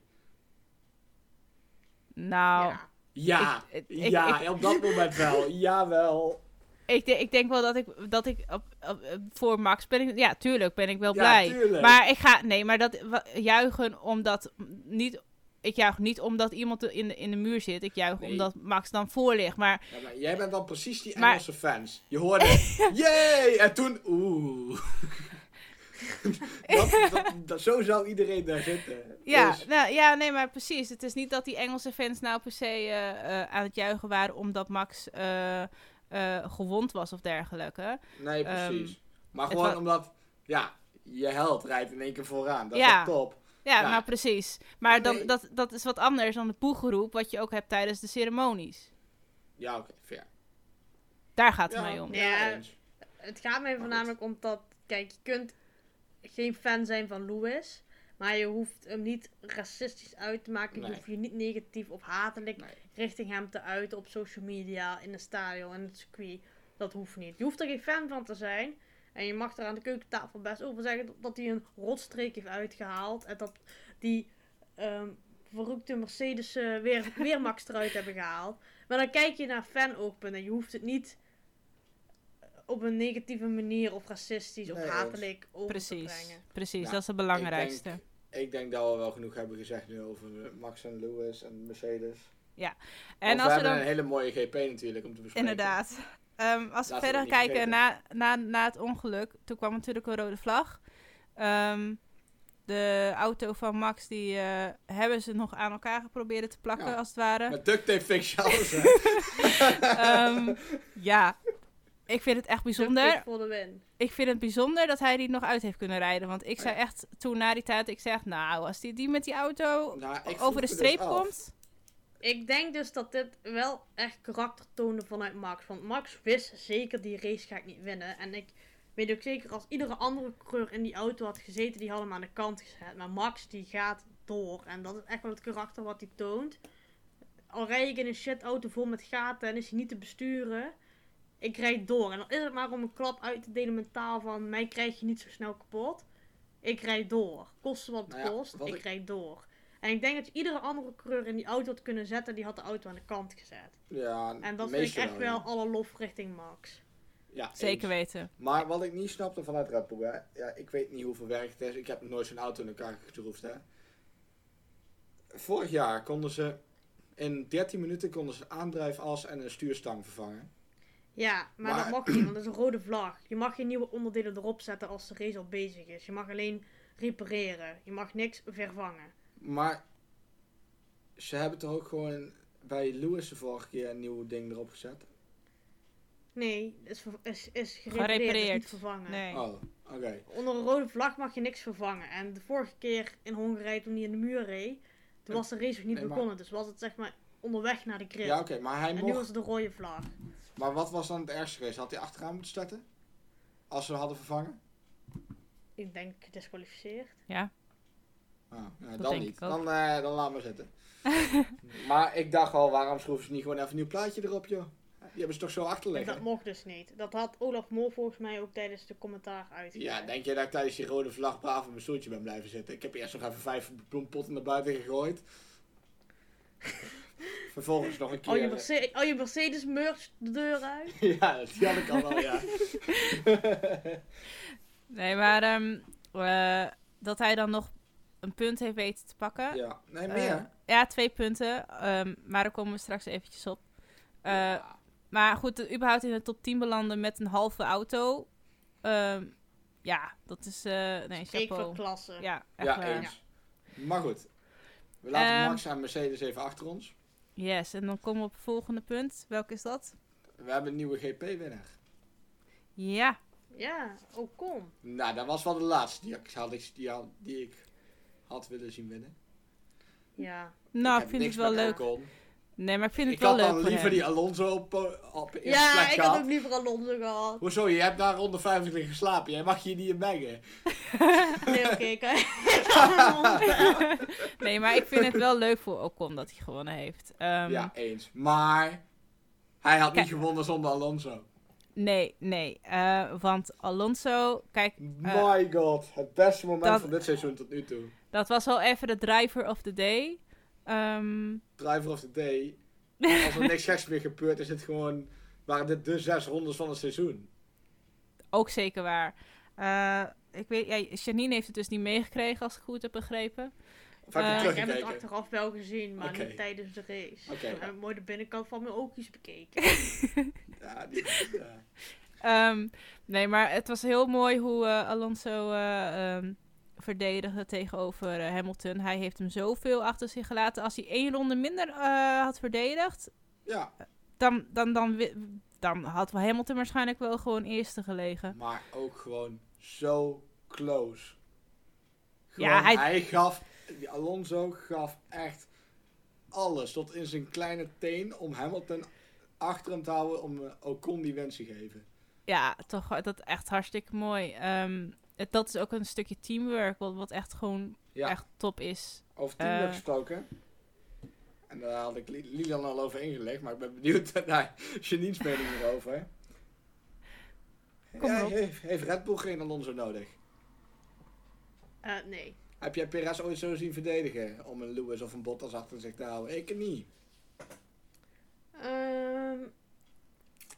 Speaker 3: Nou,
Speaker 2: Ja.
Speaker 1: Ja,
Speaker 3: Ik- ik-
Speaker 1: ja,
Speaker 3: ik-
Speaker 1: op dat moment wel. Jawel.
Speaker 3: Ik, de- ik denk wel dat ik, dat ik op- op- op- voor Max ben ik, ja tuurlijk ben ik wel
Speaker 1: Ja,
Speaker 3: blij.
Speaker 1: tuurlijk.
Speaker 3: Maar ik ga, nee, maar dat wa- juichen omdat m- niet, ik juich niet omdat iemand in de, in de muur zit. Ik juich
Speaker 1: Nee.
Speaker 3: omdat Max dan voor ligt. Maar
Speaker 1: Ja, maar jij bent dan precies die
Speaker 3: Maar-
Speaker 1: Engelse fans. Je hoorde, yay! En toen, oeh. dat, dat, dat- zo zou iedereen daar zitten.
Speaker 3: ja,
Speaker 1: Dus,
Speaker 3: nou, ja, nee, maar precies. Het is niet dat die Engelse fans nou per se eh, eh, aan het juichen waren omdat Max eh, eh, gewond was of dergelijke.
Speaker 1: nee, precies.
Speaker 3: Ehm,
Speaker 1: maar
Speaker 3: het
Speaker 1: gewoon
Speaker 3: wa-
Speaker 1: omdat, ja, je held rijdt in één keer vooraan. Dat
Speaker 3: Ja.
Speaker 1: is toch top.
Speaker 3: Ja,
Speaker 1: Ja.
Speaker 3: nou precies. Maar dan,
Speaker 1: Nee.
Speaker 3: dat, dat is wat anders dan de boegeroep wat je ook hebt tijdens de ceremonies.
Speaker 1: Ja, oké, fair.
Speaker 3: Daar gaat het
Speaker 1: ja,
Speaker 3: mij om.
Speaker 1: ja,
Speaker 2: Ja.
Speaker 1: eens.
Speaker 2: Het gaat mij voornamelijk om dat, kijk, je kunt geen fan zijn van Lewis, maar je hoeft hem niet racistisch uit te maken.
Speaker 1: Nee.
Speaker 2: Je hoeft je niet negatief of hatelijk
Speaker 1: Nee.
Speaker 2: richting hem te uiten op social media, in het stadion, in het circuit. Dat hoeft niet. Je hoeft er geen fan van te zijn. En je mag er aan de keukentafel best over zeggen dat- dat hij een rotstreek heeft uitgehaald. En dat die ehm verroekte Mercedes eh, weer, weer Max eruit hebben gehaald. Maar dan kijk je naar fan-oogpunt en je hoeft het niet eh, op een negatieve manier of racistisch of
Speaker 1: Nee, eens.
Speaker 2: hatelijk over te
Speaker 3: Precies,
Speaker 2: brengen.
Speaker 3: precies.
Speaker 1: Ja,
Speaker 3: dat is het
Speaker 1: Ik
Speaker 3: belangrijkste.
Speaker 1: denk, ik denk dat we wel genoeg hebben gezegd nu over eh, Max en Lewis en Mercedes.
Speaker 3: en
Speaker 1: Want
Speaker 3: als
Speaker 1: we
Speaker 3: we
Speaker 1: hebben
Speaker 3: dan,
Speaker 1: een hele mooie GP natuurlijk om te bespreken.
Speaker 3: inderdaad, Ehm, als we
Speaker 1: Laten we
Speaker 3: verder
Speaker 1: dat niet
Speaker 3: kijken na, na, na het ongeluk, toen kwam natuurlijk een rode vlag. Ehm, de auto van Max, die eh, hebben ze nog aan elkaar geprobeerd te plakken,
Speaker 1: Ja.
Speaker 3: als het ware.
Speaker 1: Met duct tape fix je alles. Nou, hè.
Speaker 3: Ehm, ja, ik vind het echt
Speaker 2: Terug
Speaker 3: bijzonder.
Speaker 2: voor de win.
Speaker 3: Ik vind het bijzonder dat hij die nog uit heeft kunnen rijden. Want ik zei echt toen na die tijd, ik zeg, nou, als die, die met die auto
Speaker 1: Nou, ik vroeg
Speaker 3: over
Speaker 1: me
Speaker 3: de
Speaker 1: dus
Speaker 3: streep
Speaker 1: af.
Speaker 3: komt...
Speaker 2: Ik denk dus dat dit wel echt karakter toonde vanuit Max. Want Max wist zeker die race ga ik niet winnen. En ik weet ook zeker als iedere andere coureur in die auto had gezeten, die had hem aan de kant gezet. Maar Max die gaat door. En dat is echt wel het karakter wat hij toont. Al rijd ik in een shit auto vol met gaten en is hij niet te besturen. Ik rijd door. En dan is het maar om een klap uit te delen mentaal van mij krijg je niet zo snel kapot. Ik rijd door. Koste wat het
Speaker 1: Nou ja,
Speaker 2: kost,
Speaker 1: wat
Speaker 2: ik
Speaker 1: ik-
Speaker 2: rijd door. En ik denk dat je iedere andere coureur in die auto had kunnen zetten, die had de auto aan de kant gezet.
Speaker 1: Ja,
Speaker 2: En dat vind ik
Speaker 1: meestal
Speaker 2: echt wel alle lof richting Max.
Speaker 1: Ja,
Speaker 3: Zeker
Speaker 1: eens.
Speaker 3: weten.
Speaker 1: Maar wat ik niet snapte vanuit Red Bull, hè, ja, ik weet niet hoeveel werk het is. Ik heb nog nooit zo'n auto in elkaar getroefd. Hè. Vorig jaar konden ze in 13 minuten konden ze een aandrijfas en een stuurstang vervangen.
Speaker 2: Ja, maar,
Speaker 1: Maar-
Speaker 2: dat mag niet, want dat is een rode vlag. Je mag geen nieuwe onderdelen erop zetten als de race al bezig is. Je mag alleen repareren. Je mag niks vervangen.
Speaker 1: Maar ze hebben toch ook gewoon bij Lewis de vorige keer een nieuw ding erop gezet?
Speaker 2: Nee, is, ver- is, is gerepareerd, is
Speaker 3: Gerepareerd.
Speaker 2: niet vervangen.
Speaker 3: Nee.
Speaker 1: Oh, oké.
Speaker 2: Onder een rode vlag mag je niks vervangen. En de vorige keer in Hongarije, toen hij in de muur reed, toen was de race nog
Speaker 1: Nee,
Speaker 2: niet
Speaker 1: maar-
Speaker 2: begonnen. Dus was het zeg maar onderweg naar de grid.
Speaker 1: Ja, oké, maar hij
Speaker 2: en nu
Speaker 1: mocht...
Speaker 2: was het de rode vlag.
Speaker 1: Maar wat was dan het ergste geweest? Had hij achteraan moeten starten? Als ze hem hadden vervangen?
Speaker 2: Ik denk gedisqualificeerd.
Speaker 3: Ja.
Speaker 1: Ah, ja,
Speaker 3: denk
Speaker 1: dan niet.
Speaker 3: ik ook.
Speaker 1: Dan, eh dan laat maar zitten. maar ik dacht al, waarom schroeven ze niet gewoon even een nieuw plaatje erop, joh? Die hebben ze toch zo
Speaker 2: En
Speaker 1: achterleggen?
Speaker 2: dat mocht dus niet. Dat had Olaf Mol volgens mij ook tijdens de commentaar
Speaker 1: Ja,
Speaker 2: uitgelegd.
Speaker 1: denk je dat ik tijdens die rode vlag braaf op mijn stoeltje ben blijven zitten? Ik heb eerst nog even vijf bloempotten naar buiten gegooid. Vervolgens nog een keer.
Speaker 3: Oh,
Speaker 1: eh,
Speaker 2: al, je Merce- al je Mercedes merch de deur uit.
Speaker 1: ja, die had ik al wel, ja.
Speaker 3: Nee, maar ehm, eh, dat hij dan nog een punt heeft weten te pakken.
Speaker 1: ja. Nee,
Speaker 3: Eh,
Speaker 1: meer.
Speaker 3: ja, twee punten. ehm, maar daar komen we straks eventjes op. Eh,
Speaker 1: Ja.
Speaker 3: Maar goed, het überhaupt in de top 10 belanden met een halve auto. ehm, ja, dat is... eh nee,
Speaker 2: Steek voor
Speaker 3: chapeau.
Speaker 2: klasse.
Speaker 3: Ja, echt
Speaker 1: ja,
Speaker 3: waar.
Speaker 1: eens. Maar goed. We laten
Speaker 3: Ehm.
Speaker 1: Max en Mercedes even achter ons.
Speaker 3: Yes, en dan komen we op het volgende punt. Welk is dat?
Speaker 1: We hebben een nieuwe GP-winnaar.
Speaker 3: Ja,
Speaker 2: Ja, oh kom.
Speaker 1: Nou, dat was wel de laatste die ik had, die had, die ik had willen zien winnen.
Speaker 2: Ja.
Speaker 3: nou, ik,
Speaker 1: heb
Speaker 3: vind het
Speaker 1: niks
Speaker 3: wel
Speaker 1: met
Speaker 3: leuk.
Speaker 1: Ocon.
Speaker 3: Nee, maar ik vind het
Speaker 1: Ik
Speaker 3: wel
Speaker 1: had
Speaker 3: leuk
Speaker 1: dan
Speaker 3: voor
Speaker 1: liever
Speaker 3: hem.
Speaker 1: die Alonso op, eh, op eerste
Speaker 2: Ja,
Speaker 1: plek
Speaker 2: ik
Speaker 1: gehad.
Speaker 2: had ook liever Alonso gehad.
Speaker 1: Hoezo, je hebt daar onder 50 liggen geslapen. Jij mag je niet in mengen.
Speaker 2: Nee, oké. ik ik had Alonso.
Speaker 3: Nee, maar ik vind het wel leuk voor Ocon dat hij gewonnen heeft. Ehm,
Speaker 1: ja, eens. Maar hij had niet
Speaker 3: Kijk.
Speaker 1: gewonnen zonder Alonso.
Speaker 3: Nee, nee. eh, want Alonso, kijk,
Speaker 1: My god, het beste moment
Speaker 3: Eh. dat-
Speaker 1: van dit seizoen tot nu toe.
Speaker 3: dat was wel even de driver of the day. Ehm,
Speaker 1: Driver of the day. Als er niks geks meer gebeurt, is het gewoon waren dit de zes rondes van het seizoen.
Speaker 3: Ook zeker waar. Eh, ik weet, ja, Janine heeft het dus niet meegekregen, als ik goed heb begrepen.
Speaker 1: Of heb je
Speaker 3: Eh,
Speaker 2: ik heb
Speaker 1: teruggekeken?
Speaker 2: het achteraf wel gezien, maar
Speaker 1: Oké.
Speaker 2: niet tijdens de race.
Speaker 1: Oké.
Speaker 2: Ik heb mooi de binnenkant van mijn oogjes bekeken.
Speaker 1: Ja, die, ja.
Speaker 3: Ehm, nee, maar het was heel mooi hoe eh, Alonso eh, ehm, verdedigde tegenover eh, Hamilton. Hij heeft hem zoveel achter zich gelaten. Als hij één ronde minder eh, had verdedigd,
Speaker 1: ja,
Speaker 3: dan, dan, dan, wi- dan had Hamilton waarschijnlijk wel gewoon eerste gelegen.
Speaker 1: maar ook gewoon zo close.
Speaker 3: Ja,
Speaker 1: Gewoon, ja,
Speaker 3: hij-
Speaker 1: hij... gaf, die Alonso gaf echt alles tot in zijn kleine teen om Hamilton achter hem te houden om eh, Ocon die wens te geven.
Speaker 3: Ja, toch, eh, dat echt hartstikke mooi. Ehm, het, dat is ook een stukje teamwork, wat, wat echt gewoon
Speaker 1: Ja.
Speaker 3: echt top is.
Speaker 1: Over team
Speaker 3: Eh.
Speaker 1: heb gesproken. En daar had ik Li- Lilan al over ingelegd, maar ik ben benieuwd naar Janine's mening hierover.
Speaker 3: Kom
Speaker 1: ja,
Speaker 3: maar op.
Speaker 1: heeft, heeft Red Bull geen Alonso nodig?
Speaker 2: Eh, nee.
Speaker 1: Heb jij Perez ooit zo zien verdedigen om een Lewis of een Bottas achter zich te houden? Ik niet.
Speaker 2: Ehm,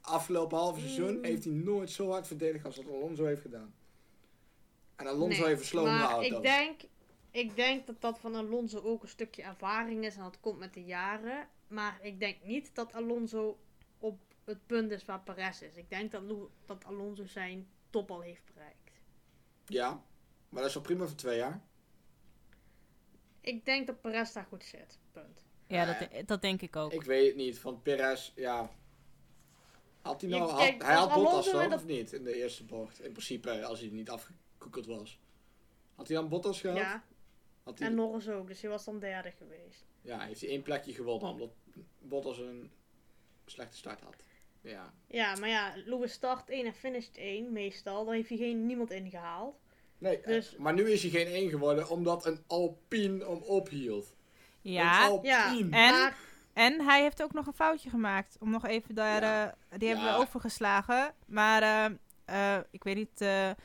Speaker 1: Afgelopen half seizoen
Speaker 2: Mm.
Speaker 1: heeft hij nooit zo hard verdedigd als dat Alonso heeft gedaan. En Alonso
Speaker 2: nee.
Speaker 1: heeft versloten de
Speaker 2: maar
Speaker 1: auto's.
Speaker 2: Ik denk, ik denk dat dat van Alonso ook een stukje ervaring is en dat komt met de jaren. Maar ik denk niet dat Alonso op het punt is waar Perez is. Ik denk dat, Lou- dat Alonso zijn top al heeft bereikt.
Speaker 1: Ja, maar dat is al prima voor twee jaar.
Speaker 2: Ik denk dat Perez daar goed zit. Punt.
Speaker 3: Ja,
Speaker 1: Ja,
Speaker 3: dat, dat denk ik ook.
Speaker 1: Eh, Ik weet het niet, want Perez, ja... Had hij nou...
Speaker 2: Ik
Speaker 1: had-
Speaker 2: denk
Speaker 1: hij
Speaker 2: dat
Speaker 1: had Bottas
Speaker 2: Alonso
Speaker 1: toch,
Speaker 2: met dat-
Speaker 1: of niet? In de eerste bocht. In principe, als hij niet afgekoekeld was. Had hij dan Bottas gehad?
Speaker 2: Ja,
Speaker 1: Had hij-
Speaker 2: en Norris ook. Dus hij was dan derde geweest.
Speaker 1: ja, heeft hij één plekje gewonnen, omdat Bottas een slechte start had. Ja,
Speaker 2: Ja, maar ja, Lewis start 1 en finisht 1 meestal. Daar heeft hij geen, niemand ingehaald.
Speaker 1: Nee, eh,
Speaker 2: Dus-
Speaker 1: maar nu is hij geen één geworden omdat een Alpine hem ophield. Een
Speaker 3: Ja,
Speaker 2: Ja,
Speaker 1: Alpine.
Speaker 3: En?
Speaker 2: maar
Speaker 3: en hij heeft ook nog een foutje gemaakt. Om nog even daar,
Speaker 1: Ja.
Speaker 3: eh, die hebben
Speaker 1: Ja.
Speaker 3: we overgeslagen. Maar eh, eh, ik weet niet eh, eh,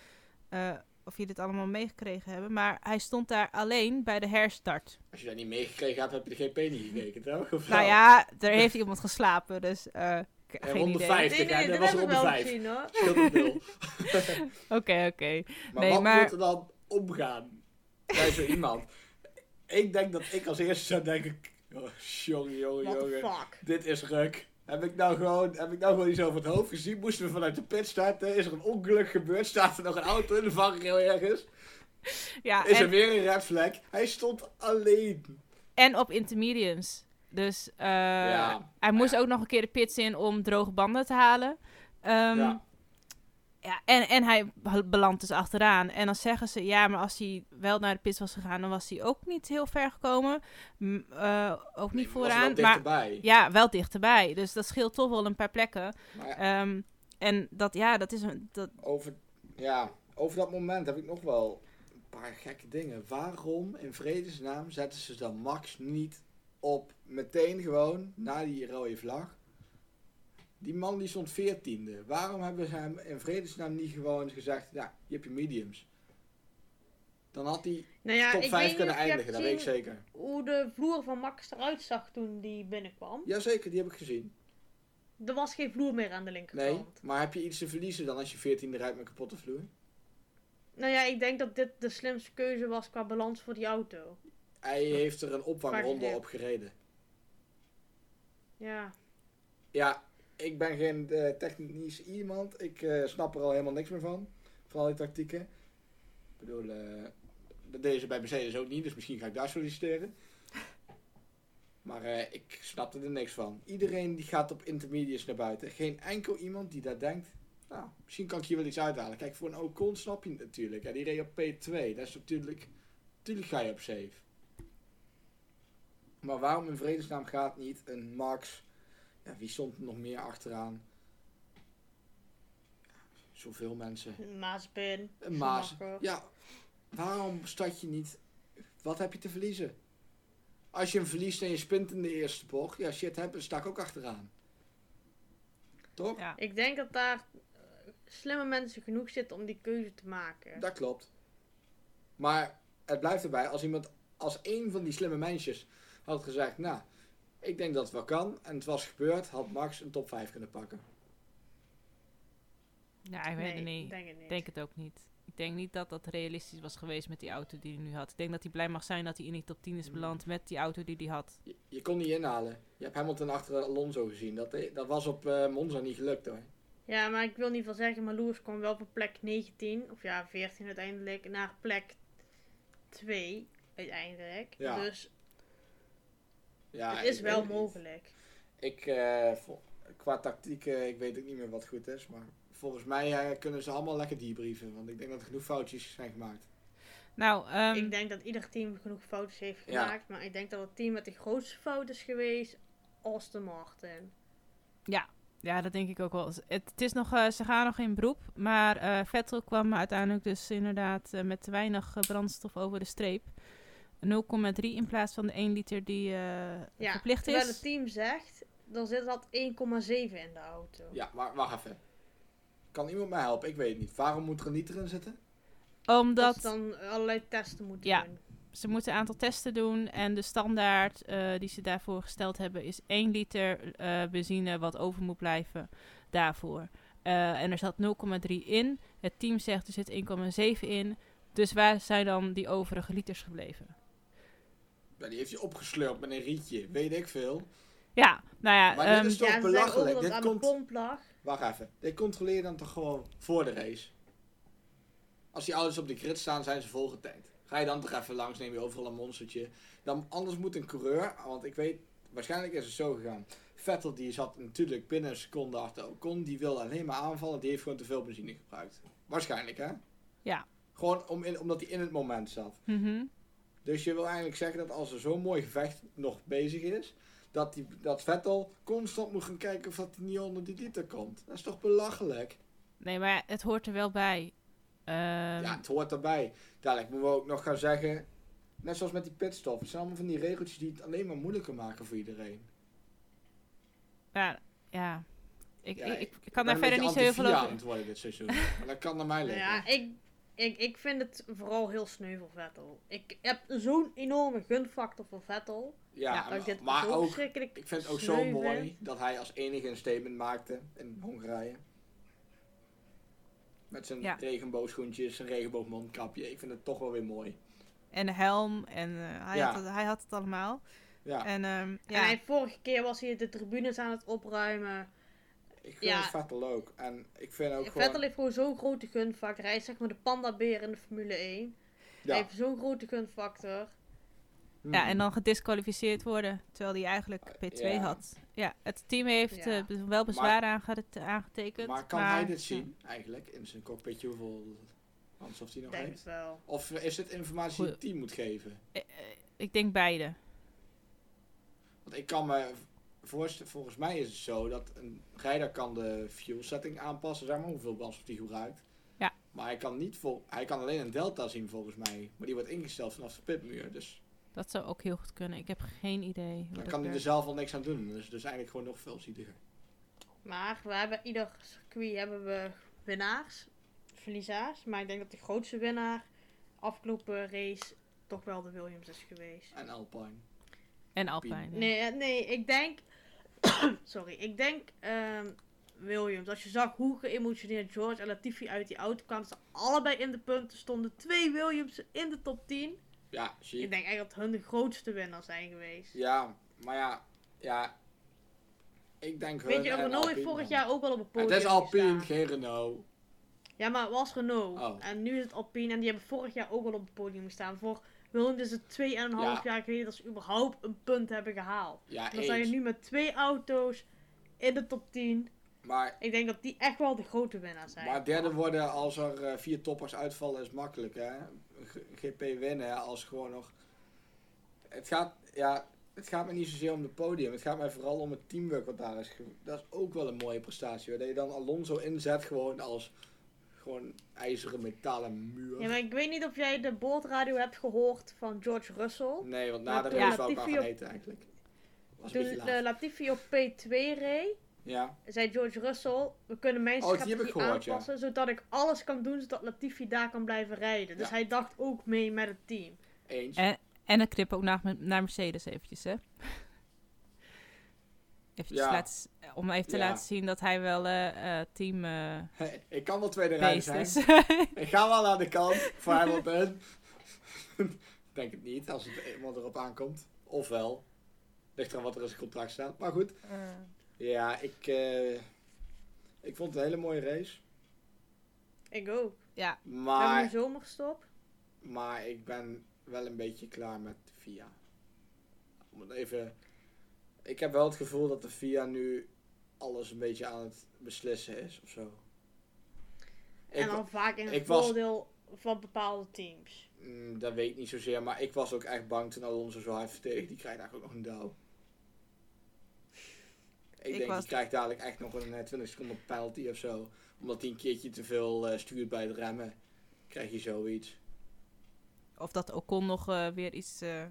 Speaker 3: of jullie dit allemaal meegekregen hebben. Maar hij stond daar alleen bij de herstart.
Speaker 1: Als je dat niet meegekregen hebt, heb je de GP niet gekeken, toch? Of
Speaker 3: Nou
Speaker 1: wel?
Speaker 3: ja, er heeft iemand geslapen, dus eh, k-
Speaker 1: En
Speaker 3: geen
Speaker 1: ronde
Speaker 3: idee.
Speaker 1: vijf.
Speaker 3: Oké,
Speaker 2: nee, nee,
Speaker 1: Ja, dat
Speaker 2: dat
Speaker 1: was
Speaker 2: heb ik
Speaker 1: ronde
Speaker 2: wel
Speaker 1: vijf.
Speaker 2: gezien hoor.
Speaker 1: Scheelt een nul.
Speaker 3: oké.
Speaker 1: Maar
Speaker 3: Nee,
Speaker 1: wat
Speaker 3: maar-
Speaker 1: moet er dan omgaan bij zo iemand? ik denk dat ik als eerste zou denken... Oh, jongen, jongen,
Speaker 2: What the
Speaker 1: jongen.
Speaker 2: fuck.
Speaker 1: Dit is ruk. Heb ik, nou gewoon, heb ik nou gewoon iets over het hoofd gezien? Moesten we vanuit de pit starten? Is er een ongeluk gebeurd? Staat er nog een auto in de vangrail ergens?
Speaker 3: Ja,
Speaker 1: Is er
Speaker 3: en,
Speaker 1: weer een red flag? Hij stond alleen.
Speaker 3: en op intermediums. Dus eh,
Speaker 1: Ja.
Speaker 3: hij moest ook nog een keer de pits in om droge banden te halen. Ehm,
Speaker 1: ja.
Speaker 3: Ja, en, en hij belandt dus achteraan. En dan zeggen ze, ja, maar als hij wel naar de pits was gegaan, dan was hij ook niet heel ver gekomen. M, eh, ook niet
Speaker 1: Nee, maar was
Speaker 3: vooraan.
Speaker 1: wel
Speaker 3: Maar
Speaker 1: dichterbij.
Speaker 3: ja, wel dichterbij. Dus dat scheelt toch wel een paar plekken.
Speaker 1: Maar ja,
Speaker 3: Ehm, en dat, ja, dat is een. Dat,
Speaker 1: over, ja, over dat moment heb ik nog wel een paar gekke dingen. Waarom in vredesnaam zetten ze dan Max niet op meteen gewoon na die rode vlag? Die man die stond veertiende. Waarom hebben ze hem in vredesnaam niet gewoon gezegd, ja, je hebt je mediums. Dan had hij
Speaker 2: Nou ja,
Speaker 1: top
Speaker 2: ik
Speaker 1: 5
Speaker 2: weet niet
Speaker 1: kunnen
Speaker 2: of je hebt
Speaker 1: eindigen, dat weet ik
Speaker 2: gezien
Speaker 1: zeker.
Speaker 2: hoe de vloer van Max eruit zag toen die binnenkwam.
Speaker 1: Jazeker, die heb ik gezien.
Speaker 2: Er was geen vloer meer aan de
Speaker 1: Nee,
Speaker 2: linkerkant.
Speaker 1: maar heb je iets te verliezen dan als je veertiende rijdt met kapotte vloer?
Speaker 2: Nou ja, ik denk dat dit de slimste keuze was qua balans voor die auto.
Speaker 1: Hij heeft er een opvangronde
Speaker 2: Vaak-
Speaker 1: op gereden.
Speaker 2: Ja.
Speaker 1: Ja, ik ben geen eh, technisch iemand. Ik eh, snap er al helemaal niks meer van. Van al die tactieken. Ik bedoel, eh, dat deden ze bij Mercedes ook niet. Dus misschien ga ik daar solliciteren. Maar eh, ik snapte er niks van. Iedereen die gaat op intermediates naar buiten. Geen enkel iemand die daar denkt. Nou, misschien kan ik hier wel iets uithalen. Kijk, voor een Ocon snap je het natuurlijk. Ja, die reed op P2. Dat is natuurlijk... Natuurlijk ga je op safe. Maar waarom in vredesnaam gaat niet een Max ja, wie stond er nog meer achteraan? Zoveel mensen.
Speaker 2: Maaspin.
Speaker 1: Een Maas.
Speaker 2: Schumacher.
Speaker 1: Ja, waarom start je niet? Wat heb je te verliezen? Als je hem verliest en je spint in de eerste bocht, ja shit, hebben sta ik ook achteraan. Toch?
Speaker 3: ja.
Speaker 2: Ik denk dat daar eh, slimme mensen genoeg zitten om die keuze te maken.
Speaker 1: Dat klopt. Maar het blijft erbij, als iemand, als één van die slimme meisjes had gezegd, nou, ik denk dat het wel kan, en het was gebeurd, had Max een top 5 kunnen pakken.
Speaker 3: Nou, ik weet het
Speaker 2: nee, ik
Speaker 3: niet. Ik
Speaker 2: denk het niet.
Speaker 3: denk het ook niet. Ik denk niet dat dat realistisch was geweest met die auto die hij nu had. Ik denk dat hij blij mag zijn dat hij in die top 10 is
Speaker 1: Mm.
Speaker 3: beland met die auto die hij had.
Speaker 1: Je, je kon niet inhalen. Je hebt Hamilton achter Alonso gezien. Dat, dat was op eh, Monza niet gelukt hoor.
Speaker 2: Ja, maar ik wil niet van zeggen, maar Lewis kwam wel van plek 19, of ja, 14 uiteindelijk, naar plek 2 uiteindelijk.
Speaker 1: Ja.
Speaker 2: Dus
Speaker 1: Ja,
Speaker 2: het is
Speaker 1: ik
Speaker 2: wel
Speaker 1: weet niet.
Speaker 2: mogelijk.
Speaker 1: Ik, eh, vol- qua tactiek, eh, ik weet ook niet meer wat goed is. Maar volgens mij eh, kunnen ze allemaal lekker debrieven. Want ik denk dat er genoeg foutjes zijn gemaakt.
Speaker 3: Nou, ehm,
Speaker 2: ik denk dat ieder team genoeg fouten heeft
Speaker 1: Ja.
Speaker 2: gemaakt, maar ik denk dat het team met de grootste fout is geweest, Aston Martin.
Speaker 3: ja, dat denk ik ook wel. Het, het is nog, eh, ze gaan nog in beroep. Maar eh, Vettel kwam uiteindelijk dus inderdaad eh, met te weinig eh, brandstof over de streep. 0,3 in plaats van de 1 liter die eh,
Speaker 2: Ja,
Speaker 3: verplicht
Speaker 2: terwijl
Speaker 3: is.
Speaker 2: het team zegt, dan zit dat 1,7 in de auto.
Speaker 1: Ja, maar wacht even. Kan iemand mij helpen? Ik weet het niet. Waarom moet er een liter in zitten?
Speaker 2: Dat
Speaker 3: Omdat
Speaker 2: ze dan allerlei testen moeten
Speaker 3: Ja.
Speaker 2: doen.
Speaker 3: ze moeten een aantal testen doen. En de standaard eh, die ze daarvoor gesteld hebben is 1 liter eh, benzine wat over moet blijven daarvoor. Eh, en er zat 0,3 in. Het team zegt er zit 1,7 in. Dus waar zijn dan die overige liters gebleven?
Speaker 1: Ja, die heeft je opgeslurpt met een rietje. Weet ik veel.
Speaker 3: Ja, nou ja.
Speaker 1: Maar dit
Speaker 3: ehm,
Speaker 1: is toch
Speaker 2: ja, ze zeggen ook
Speaker 1: belachelijk.
Speaker 2: dat
Speaker 1: Dit
Speaker 2: het aan
Speaker 1: komt-
Speaker 2: de pomp lag.
Speaker 1: Wacht even. Dit controleer je dan toch gewoon voor de race? Als die auto's op de grid staan, zijn ze volgetankt. Ga je dan toch even langs, neem je overal een monstertje. Dan, anders moet een coureur, want ik weet, waarschijnlijk is het zo gegaan. Vettel die zat natuurlijk binnen een seconde achter Ocon. Die wil alleen maar aanvallen, die heeft gewoon te veel benzine gebruikt. Waarschijnlijk hè?
Speaker 3: Ja.
Speaker 1: Gewoon om in, omdat hij in het moment zat.
Speaker 3: mhm.
Speaker 1: Dus je wil eigenlijk zeggen dat als er zo'n mooi gevecht nog bezig is, dat, die, dat Vettel constant moet gaan kijken of dat hij niet onder die liter komt. Dat is toch belachelijk?
Speaker 3: Nee, maar het hoort er wel bij. Ehm,
Speaker 1: ja, het hoort erbij. Dadelijk moeten we ook nog gaan zeggen, net zoals met die pitstop, het zijn allemaal van die regeltjes die het alleen maar moeilijker maken voor iedereen.
Speaker 3: ja, ja. Ik,
Speaker 1: Ja,
Speaker 3: ik,
Speaker 1: ik-
Speaker 3: ik kan daar verder niet zo heel veel
Speaker 1: Ik ben een beetje
Speaker 3: over.
Speaker 1: anti-VIA aan het worden dit seizoen. Maar dat kan naar mij
Speaker 2: Nou
Speaker 1: liggen.
Speaker 2: ja, ik, ik, ik vind het vooral heel sneu voor Vettel. Ik heb zo'n enorme gunfactor voor Vettel.
Speaker 1: Ja,
Speaker 3: Ja,
Speaker 2: dat ik dit
Speaker 1: maar
Speaker 2: zo
Speaker 1: ook,
Speaker 2: verschrikkelijk
Speaker 1: ik vind het ook
Speaker 2: sneu
Speaker 1: zo
Speaker 2: vind.
Speaker 1: mooi dat hij als enige een statement maakte in Hongarije. Met zijn
Speaker 3: Ja.
Speaker 1: regenboogschoentjes, zijn regenboogmondkapje. Ik vind het toch wel weer mooi.
Speaker 3: En de helm. En eh, hij,
Speaker 1: Ja.
Speaker 3: had het, hij had het allemaal.
Speaker 1: Ja,
Speaker 3: En, ehm,
Speaker 2: En
Speaker 3: ja.
Speaker 2: hij, vorige keer was hij de tribunes aan het opruimen.
Speaker 1: ik vind
Speaker 2: ja.
Speaker 1: het Vettel ook. En ik vind ook
Speaker 2: Vettel
Speaker 1: gewoon...
Speaker 2: heeft gewoon zo'n grote gunfactor. Hij is zeg maar de pandabeer in de Formule 1.
Speaker 1: Ja.
Speaker 2: Hij heeft zo'n grote gunfactor.
Speaker 1: Hmm.
Speaker 2: Mm.
Speaker 3: Ja, en dan gedisqualificeerd worden, terwijl hij eigenlijk P2
Speaker 1: ja.
Speaker 3: had. Ja, het team heeft
Speaker 2: Ja.
Speaker 3: eh, be- wel bezwaar aange- aangetekend.
Speaker 1: Maar kan
Speaker 3: maar-
Speaker 1: hij dit zien, eigenlijk? In zijn cockpitje, hoeveel kans of hij nog
Speaker 2: denk
Speaker 1: heeft?
Speaker 2: het wel.
Speaker 1: Of is dit informatie die het team moet geven?
Speaker 3: Eh, eh, ik denk beide.
Speaker 1: Want ik kan me voorstellen, volgens mij is het zo dat een rijder kan de fuel setting aanpassen, zeg maar, hoeveel brandstof die gebruikt.
Speaker 3: Ja.
Speaker 1: Maar hij kan, niet vol, hij kan alleen een delta zien volgens mij, maar die wordt ingesteld vanaf de pitmuur. Dus
Speaker 3: Dat zou ook heel goed kunnen. Ik heb geen idee. hoe
Speaker 1: daar
Speaker 3: dat
Speaker 1: kan hij er
Speaker 3: werkt.
Speaker 1: zelf al niks aan doen. Dus, dus eigenlijk gewoon nog veel zieliger.
Speaker 2: Maar we hebben ieder circuit hebben we winnaars, verliezers. Maar ik denk dat de grootste winnaar afgelopen race toch wel de Williams is geweest.
Speaker 1: En Alpine.
Speaker 3: En Alpine. ja.
Speaker 2: Nee, eh, nee, ik denk. sorry, ik denk. ehm, Williams, als je zag hoe geëmotioneerd George en Latifi uit die auto kwamen, ze allebei in de punten stonden. Twee Williams in de top 10.
Speaker 1: Ja, zie
Speaker 2: Ik
Speaker 1: je.
Speaker 2: denk eigenlijk dat hun de grootste winnaar zijn geweest.
Speaker 1: Ja, maar ja, ja. Ik denk hun
Speaker 2: Weet je,
Speaker 1: en
Speaker 2: Renault heeft
Speaker 1: Alpine
Speaker 2: vorig
Speaker 1: dan.
Speaker 2: jaar ook al op het
Speaker 1: Het
Speaker 2: podium
Speaker 1: is Alpine,
Speaker 2: gestaan.
Speaker 1: geen Renault.
Speaker 2: Ja, maar het was Renault.
Speaker 1: Oh.
Speaker 2: En nu is het Alpine. En die hebben vorig jaar ook al op het podium gestaan. Voor Williams is het 2,5
Speaker 1: Ja.
Speaker 2: jaar geleden dat ze überhaupt een punt hebben gehaald.
Speaker 1: Ja,
Speaker 2: Dan zijn je
Speaker 1: eens.
Speaker 2: nu met twee auto's in de top 10.
Speaker 1: Maar
Speaker 2: Ik denk dat die echt wel de grote winnaar zijn.
Speaker 1: Maar derde worden als er eh, vier toppers uitvallen is makkelijk, hè? G- GP winnen als gewoon nog. Het gaat, ja, het gaat me niet zozeer om het podium. Het gaat mij vooral om het teamwork wat daar is. ge- Dat is ook wel een mooie prestatie. Hoor. Dat je dan Alonso inzet gewoon als gewoon ijzeren metalen muur.
Speaker 2: Ja, maar ik weet niet of jij de boordradio hebt gehoord van George Russell.
Speaker 1: Nee, want na
Speaker 2: Maar
Speaker 1: de
Speaker 2: toen
Speaker 1: race wou ik maar
Speaker 2: Latifi
Speaker 1: gaan
Speaker 2: op-
Speaker 1: eten eigenlijk. Was een
Speaker 2: Toen
Speaker 1: beetje laat.
Speaker 2: eh, Latifi op P2 reed,
Speaker 1: Ja.
Speaker 2: zei George Russell, we kunnen mijn
Speaker 1: Oh, die heb
Speaker 2: strategie
Speaker 1: ik gehoord, ja.
Speaker 2: aanpassen, zodat ik alles kan doen zodat Latifi daar kan blijven rijden. Dus
Speaker 1: Ja.
Speaker 2: hij dacht ook mee met het team.
Speaker 1: Eens.
Speaker 3: En, en een knip ook naar, naar Mercedes eventjes, hè. Eventjes
Speaker 1: Ja.
Speaker 3: laten, s- om even te
Speaker 1: Ja.
Speaker 3: laten zien dat hij wel eh, eh, team eh
Speaker 1: ik kan wel tweede rij
Speaker 3: beest
Speaker 1: zijn.
Speaker 3: is.
Speaker 1: Ik ga wel aan de kant voor Hamilton. Ik Denk het niet, als het iemand erop aankomt. Ofwel. Ligt eraan wat er in zijn contract staat. Maar goed.
Speaker 3: Mm.
Speaker 1: Ja, ik, eh, ik vond het een hele mooie race.
Speaker 2: Ik ook.
Speaker 3: ja,
Speaker 2: We hebben
Speaker 1: Maar,
Speaker 2: een zomerstop.
Speaker 1: maar ik ben wel een beetje klaar met de FIA. Om het even... Ik heb wel het gevoel dat de FIA nu alles een beetje aan het beslissen is of zo.
Speaker 2: En
Speaker 1: Ik-
Speaker 2: dan vaak in
Speaker 1: ik
Speaker 2: het
Speaker 1: was-
Speaker 2: voordeel van bepaalde teams.
Speaker 1: Mm, dat weet ik niet zozeer, maar ik was ook echt bang toen Alonso zo hard verdedigde. Die krijgt eigenlijk ook nog een douw. Ik, denk,
Speaker 3: was-
Speaker 1: die krijgt dadelijk echt nog een eh, 20 seconden penalty of zo. Omdat hij een keertje te veel eh, stuurt bij het remmen. Krijg je zoiets.
Speaker 3: of dat Ocon nog eh, weer iets eh,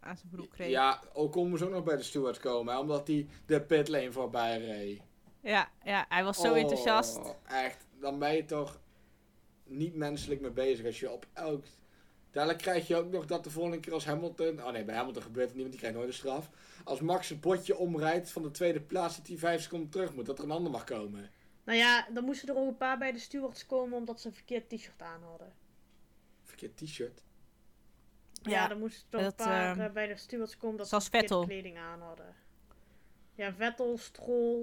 Speaker 3: aan zijn broek kreeg.
Speaker 1: Ja, Ocon moest ook nog bij de steward komen, hè, omdat hij de pitlane voorbij reed.
Speaker 3: ja, ja, hij was zo
Speaker 1: Oh,
Speaker 3: enthousiast.
Speaker 1: Echt, dan ben je toch niet menselijk mee bezig als je op elk... Dadelijk krijg je ook nog dat de volgende keer als Hamilton... Oh nee, bij Hamilton gebeurt het niet, want die krijgt nooit een straf. Als Max het potje omrijdt van de tweede plaats dat hij vijf seconden terug moet. Dat er een ander mag komen.
Speaker 2: Nou ja, dan moesten er ook een paar bij de stewards komen omdat ze een verkeerd t-shirt aan hadden.
Speaker 1: Verkeerd t-shirt.
Speaker 2: Ja,
Speaker 3: Ja,
Speaker 2: dan moesten er toch
Speaker 3: dat,
Speaker 2: een paar
Speaker 3: ehm,
Speaker 2: eh, bij de stewards komen dat ze
Speaker 3: zoals
Speaker 2: verkeerde
Speaker 3: Vettel.
Speaker 2: kleding aan hadden. Ja, Vettel, Stroll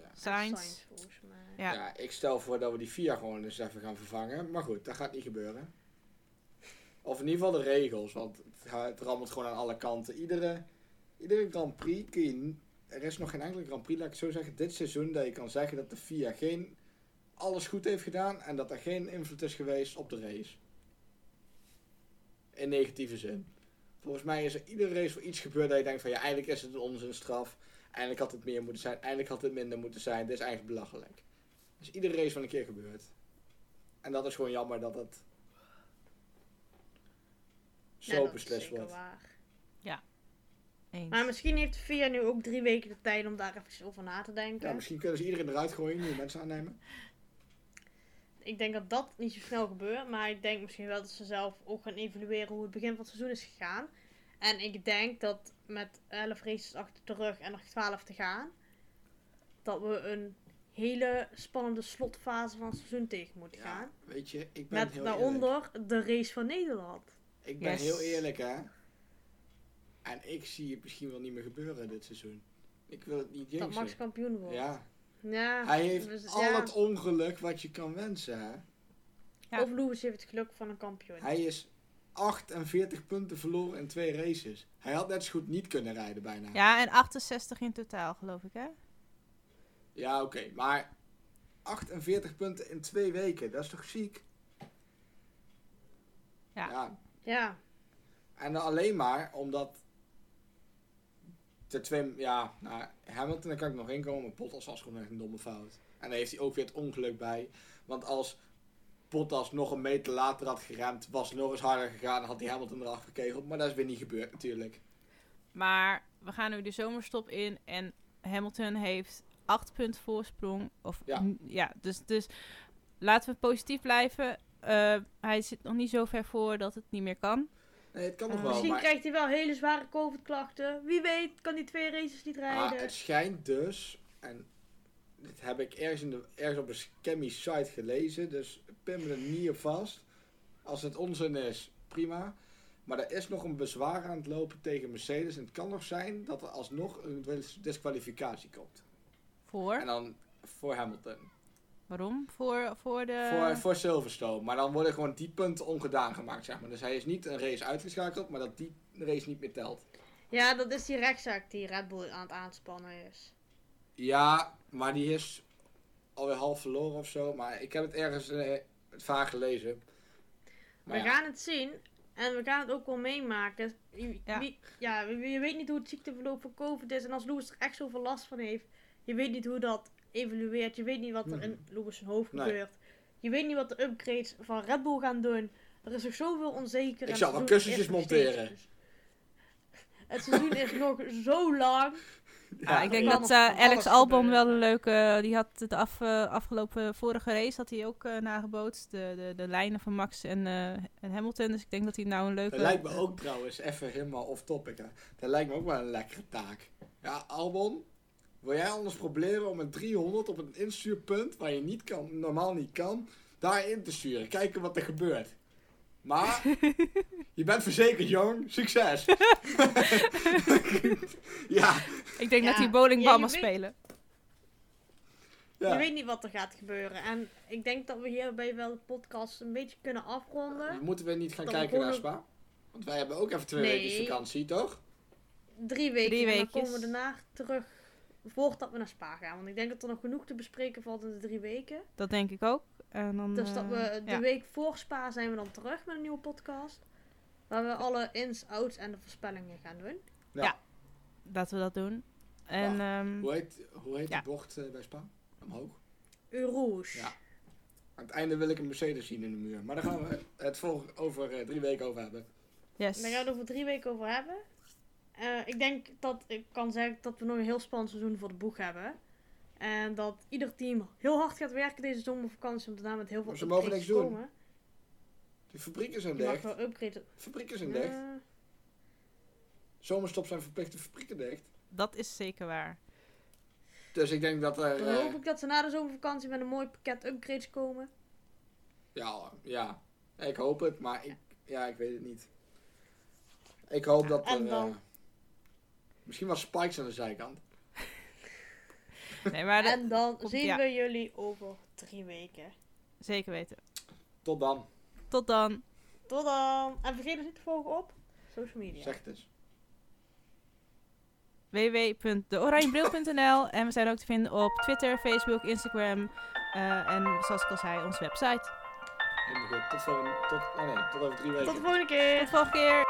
Speaker 2: en
Speaker 3: Sainz.
Speaker 2: Sainz volgens mij.
Speaker 3: Ja.
Speaker 1: Ja. ik stel voor dat we die vier gewoon eens even gaan vervangen. Maar goed, dat gaat niet gebeuren. Of in ieder geval de regels, want het, ha- het rammelt gewoon aan alle kanten. Iedere, iedere Grand Prix kun je... n- Er is nog geen enkele Grand Prix, laat ik het zo zeggen, dit seizoen... dat je kan zeggen dat de FIA geen, alles goed heeft gedaan... en dat er geen invloed is geweest op de race. In negatieve zin. Volgens mij is er iedere race wel iets gebeurd dat je denkt van... ja, eigenlijk is het een onzinstraf. Eindelijk had het meer moeten zijn. Eindelijk had het minder moeten zijn. Dit is eigenlijk belachelijk. Dus iedere race van een keer gebeurt. En dat is gewoon jammer dat het zo
Speaker 2: Ja, dat is
Speaker 1: beslist
Speaker 2: zeker
Speaker 1: wordt.
Speaker 2: waar.
Speaker 3: Eens.
Speaker 2: Maar misschien heeft de VIA nu ook drie weken de tijd om daar even over na te denken.
Speaker 1: Ja, misschien kunnen ze iedereen eruit gooien, nieuwe mensen aannemen.
Speaker 2: Ik denk dat dat niet zo snel gebeurt. Maar ik denk misschien wel dat ze zelf ook gaan evalueren hoe het begin van het seizoen is gegaan. En ik denk dat met 11 races achter de rug en nog 12 te gaan. Dat we een hele spannende slotfase van het seizoen tegen moeten gaan.
Speaker 1: weet je, ik ben
Speaker 2: Met
Speaker 1: heel eerlijk.
Speaker 2: daaronder de race van Nederland.
Speaker 1: Ik ben
Speaker 3: Yes.
Speaker 1: heel eerlijk, hè. En ik zie het misschien wel niet meer gebeuren dit seizoen. Ik wil het niet
Speaker 2: Dat Max
Speaker 1: jinxen.
Speaker 2: kampioen wordt.
Speaker 1: Ja.
Speaker 2: Ja,
Speaker 1: Hij heeft
Speaker 2: dus
Speaker 1: al
Speaker 2: ja.
Speaker 1: het ongeluk wat je kan wensen, hè.
Speaker 3: Ja.
Speaker 2: Of Lewis heeft het geluk van een kampioen.
Speaker 1: Hij is 48 punten verloren in twee races. Hij had net zo goed niet kunnen rijden bijna.
Speaker 3: Ja, en 68 in totaal, geloof ik, hè?
Speaker 1: Ja, oké, maar 48 punten in twee weken, dat is toch ziek?
Speaker 3: Ja.
Speaker 2: Ja,
Speaker 1: En dan alleen maar omdat de twee, ja, nou, Hamilton daar kan ik nog in komen, maar Bottas was gewoon echt een domme fout. En daar heeft hij ook weer het ongeluk bij, want als Bottas nog een meter later had geremd, was het nog eens harder gegaan, had hij Hamilton eraf gekegeld, maar dat is weer niet gebeurd natuurlijk.
Speaker 3: Maar we gaan nu de zomerstop in en Hamilton heeft 8 punten voorsprong. Of,
Speaker 1: Ja.
Speaker 3: n- ja dus, dus laten we positief blijven. Eh, hij zit nog niet zo ver voor dat het niet meer kan.
Speaker 1: Nee, het kan nog
Speaker 3: Eh,
Speaker 1: wel,
Speaker 2: misschien
Speaker 1: maar
Speaker 2: krijgt hij wel hele zware COVID-klachten. Wie weet, kan hij twee races niet
Speaker 1: Ah,
Speaker 2: rijden.
Speaker 1: het schijnt dus, en dit heb ik ergens, in de, ergens op een scammy site gelezen, dus pin me er niet op vast. Als het onzin is, prima. Maar er is nog een bezwaar aan het lopen tegen Mercedes. En het kan nog zijn dat er alsnog een disqualificatie komt.
Speaker 3: Voor?
Speaker 1: En dan voor Hamilton.
Speaker 3: Waarom? Voor, voor de...
Speaker 1: Voor, voor Silverstone. Maar dan worden gewoon die punten ongedaan gemaakt, zeg maar. Dus hij is niet een race uitgeschakeld, maar dat die race niet meer telt.
Speaker 2: Ja, dat is die rechtszaak die Red Bull aan het aanspannen is.
Speaker 1: Ja, maar die is alweer half verloren of zo. Maar ik heb het ergens eh, vaag gelezen. Maar
Speaker 2: we
Speaker 1: ja,
Speaker 2: gaan het zien en we gaan het ook wel meemaken. Je,
Speaker 3: Ja.
Speaker 2: Wie, ja, je- je weet niet hoe het ziekteverloop van COVID is. En als Lewis er echt zoveel last van heeft, je weet niet hoe dat evolueert. Je weet niet wat er in Lewis zijn hoofd
Speaker 1: Hmm. Nee.
Speaker 2: gebeurt. Je weet niet wat de upgrades van Red Bull gaan doen. Er is nog zoveel onzeker. en
Speaker 1: Ik
Speaker 2: het
Speaker 1: zal wel
Speaker 2: seizoen
Speaker 1: kussentjes
Speaker 2: is nog steeds-
Speaker 1: monteren.
Speaker 2: Het seizoen is nog zo lang.
Speaker 3: Ah, ik denk
Speaker 2: kan
Speaker 3: dat
Speaker 2: nog
Speaker 3: eh,
Speaker 2: van
Speaker 3: Alex
Speaker 2: alles
Speaker 3: Albon
Speaker 2: gebeuren.
Speaker 3: wel een leuke... Die had het af, eh, afgelopen vorige race had hij ook eh, nagebootst. De, de, de lijnen van Max en, eh, en Hamilton. Dus ik denk dat hij nou een leuke...
Speaker 1: dat lijkt me ook trouwens, even helemaal off topic. Hè. Dat lijkt me ook wel een lekkere taak. Ja, Albon, Wil jij anders proberen om een 300 op een instuurpunt waar je niet kan, normaal niet kan, daarin te sturen? Kijken wat er gebeurt. Maar je bent verzekerd, jong. Succes! ja,
Speaker 3: Ik denk dat
Speaker 2: Ja.
Speaker 3: hij bowlingbal
Speaker 2: Ja, je
Speaker 3: mag
Speaker 2: weet-
Speaker 3: spelen.
Speaker 2: Je
Speaker 1: ja.
Speaker 2: weet niet wat er gaat gebeuren. En ik denk dat we hierbij wel de podcast een beetje kunnen afronden.
Speaker 1: Moeten we niet gaan
Speaker 2: Dan
Speaker 1: kijken naar
Speaker 2: gewoon-
Speaker 1: Spa? Want wij hebben ook even twee
Speaker 2: Nee.
Speaker 1: weken vakantie, toch?
Speaker 2: Drie weken. en
Speaker 3: Drie
Speaker 2: dan
Speaker 3: weekjes.
Speaker 2: komen we daarna terug voordat we naar Spa gaan. Want ik denk dat er nog genoeg te bespreken valt in de drie weken.
Speaker 3: Dat denk ik ook. En dan,
Speaker 2: Dus dat we
Speaker 3: eh,
Speaker 2: de
Speaker 3: ja.
Speaker 2: week voor Spa zijn we dan terug met een nieuwe podcast. Waar we alle ins, outs en de voorspellingen gaan doen.
Speaker 3: Laten we dat doen. En
Speaker 2: Hm.
Speaker 3: ehm,
Speaker 1: Hoe heet, hoe heet
Speaker 3: Ja.
Speaker 1: die bocht eh, bij Spa? Omhoog.
Speaker 2: Urouge.
Speaker 1: Ja. Aan het einde wil ik een Mercedes zien in de muur. Maar daar gaan we het volg- over eh, drie weken over hebben.
Speaker 3: yes.
Speaker 2: Daar gaan we het over drie weken over hebben. Eh, ik denk dat ik kan zeggen dat we nog een heel spannend seizoen voor de boeg hebben. En dat ieder team heel hard gaat werken deze zomervakantie om daarna met heel veel
Speaker 1: Maar ze mogen
Speaker 2: upgrades
Speaker 1: niks
Speaker 2: te
Speaker 1: doen.
Speaker 2: komen.
Speaker 1: De fabrieken zijn
Speaker 2: Je mag
Speaker 1: dicht.
Speaker 2: wel upgraden.
Speaker 1: Fabrieken zijn dicht.
Speaker 2: Eh,
Speaker 1: Zomerstop zijn verplichte fabrieken dicht.
Speaker 3: Dat is zeker waar.
Speaker 1: Dus ik denk dat er...
Speaker 2: dan
Speaker 1: eh,
Speaker 2: hoop ik dat ze na de zomervakantie met een mooi pakket upgrades komen.
Speaker 1: ja, ja, ik hoop het, maar ik, ja, ik weet het niet. Ik hoop dat er...
Speaker 2: en dan?
Speaker 1: eh, misschien wel spikes aan de zijkant.
Speaker 3: Nee, maar dat-
Speaker 2: en dan
Speaker 3: komt-
Speaker 2: zien
Speaker 3: ja.
Speaker 2: we jullie over drie weken.
Speaker 3: zeker weten.
Speaker 1: Tot dan,
Speaker 3: Tot dan.
Speaker 2: Tot dan! En vergeet ons niet te volgen op social media.
Speaker 1: zeg het eens.
Speaker 3: www.deoranjebril.nl En we zijn ook te vinden op Twitter, Facebook, Instagram. eh, en zoals ik al zei, onze website.
Speaker 1: Helemaal goed. Tot, volgende, tot, oh nee, tot over drie weken.
Speaker 2: Tot de volgende keer!
Speaker 3: Tot volgende keer.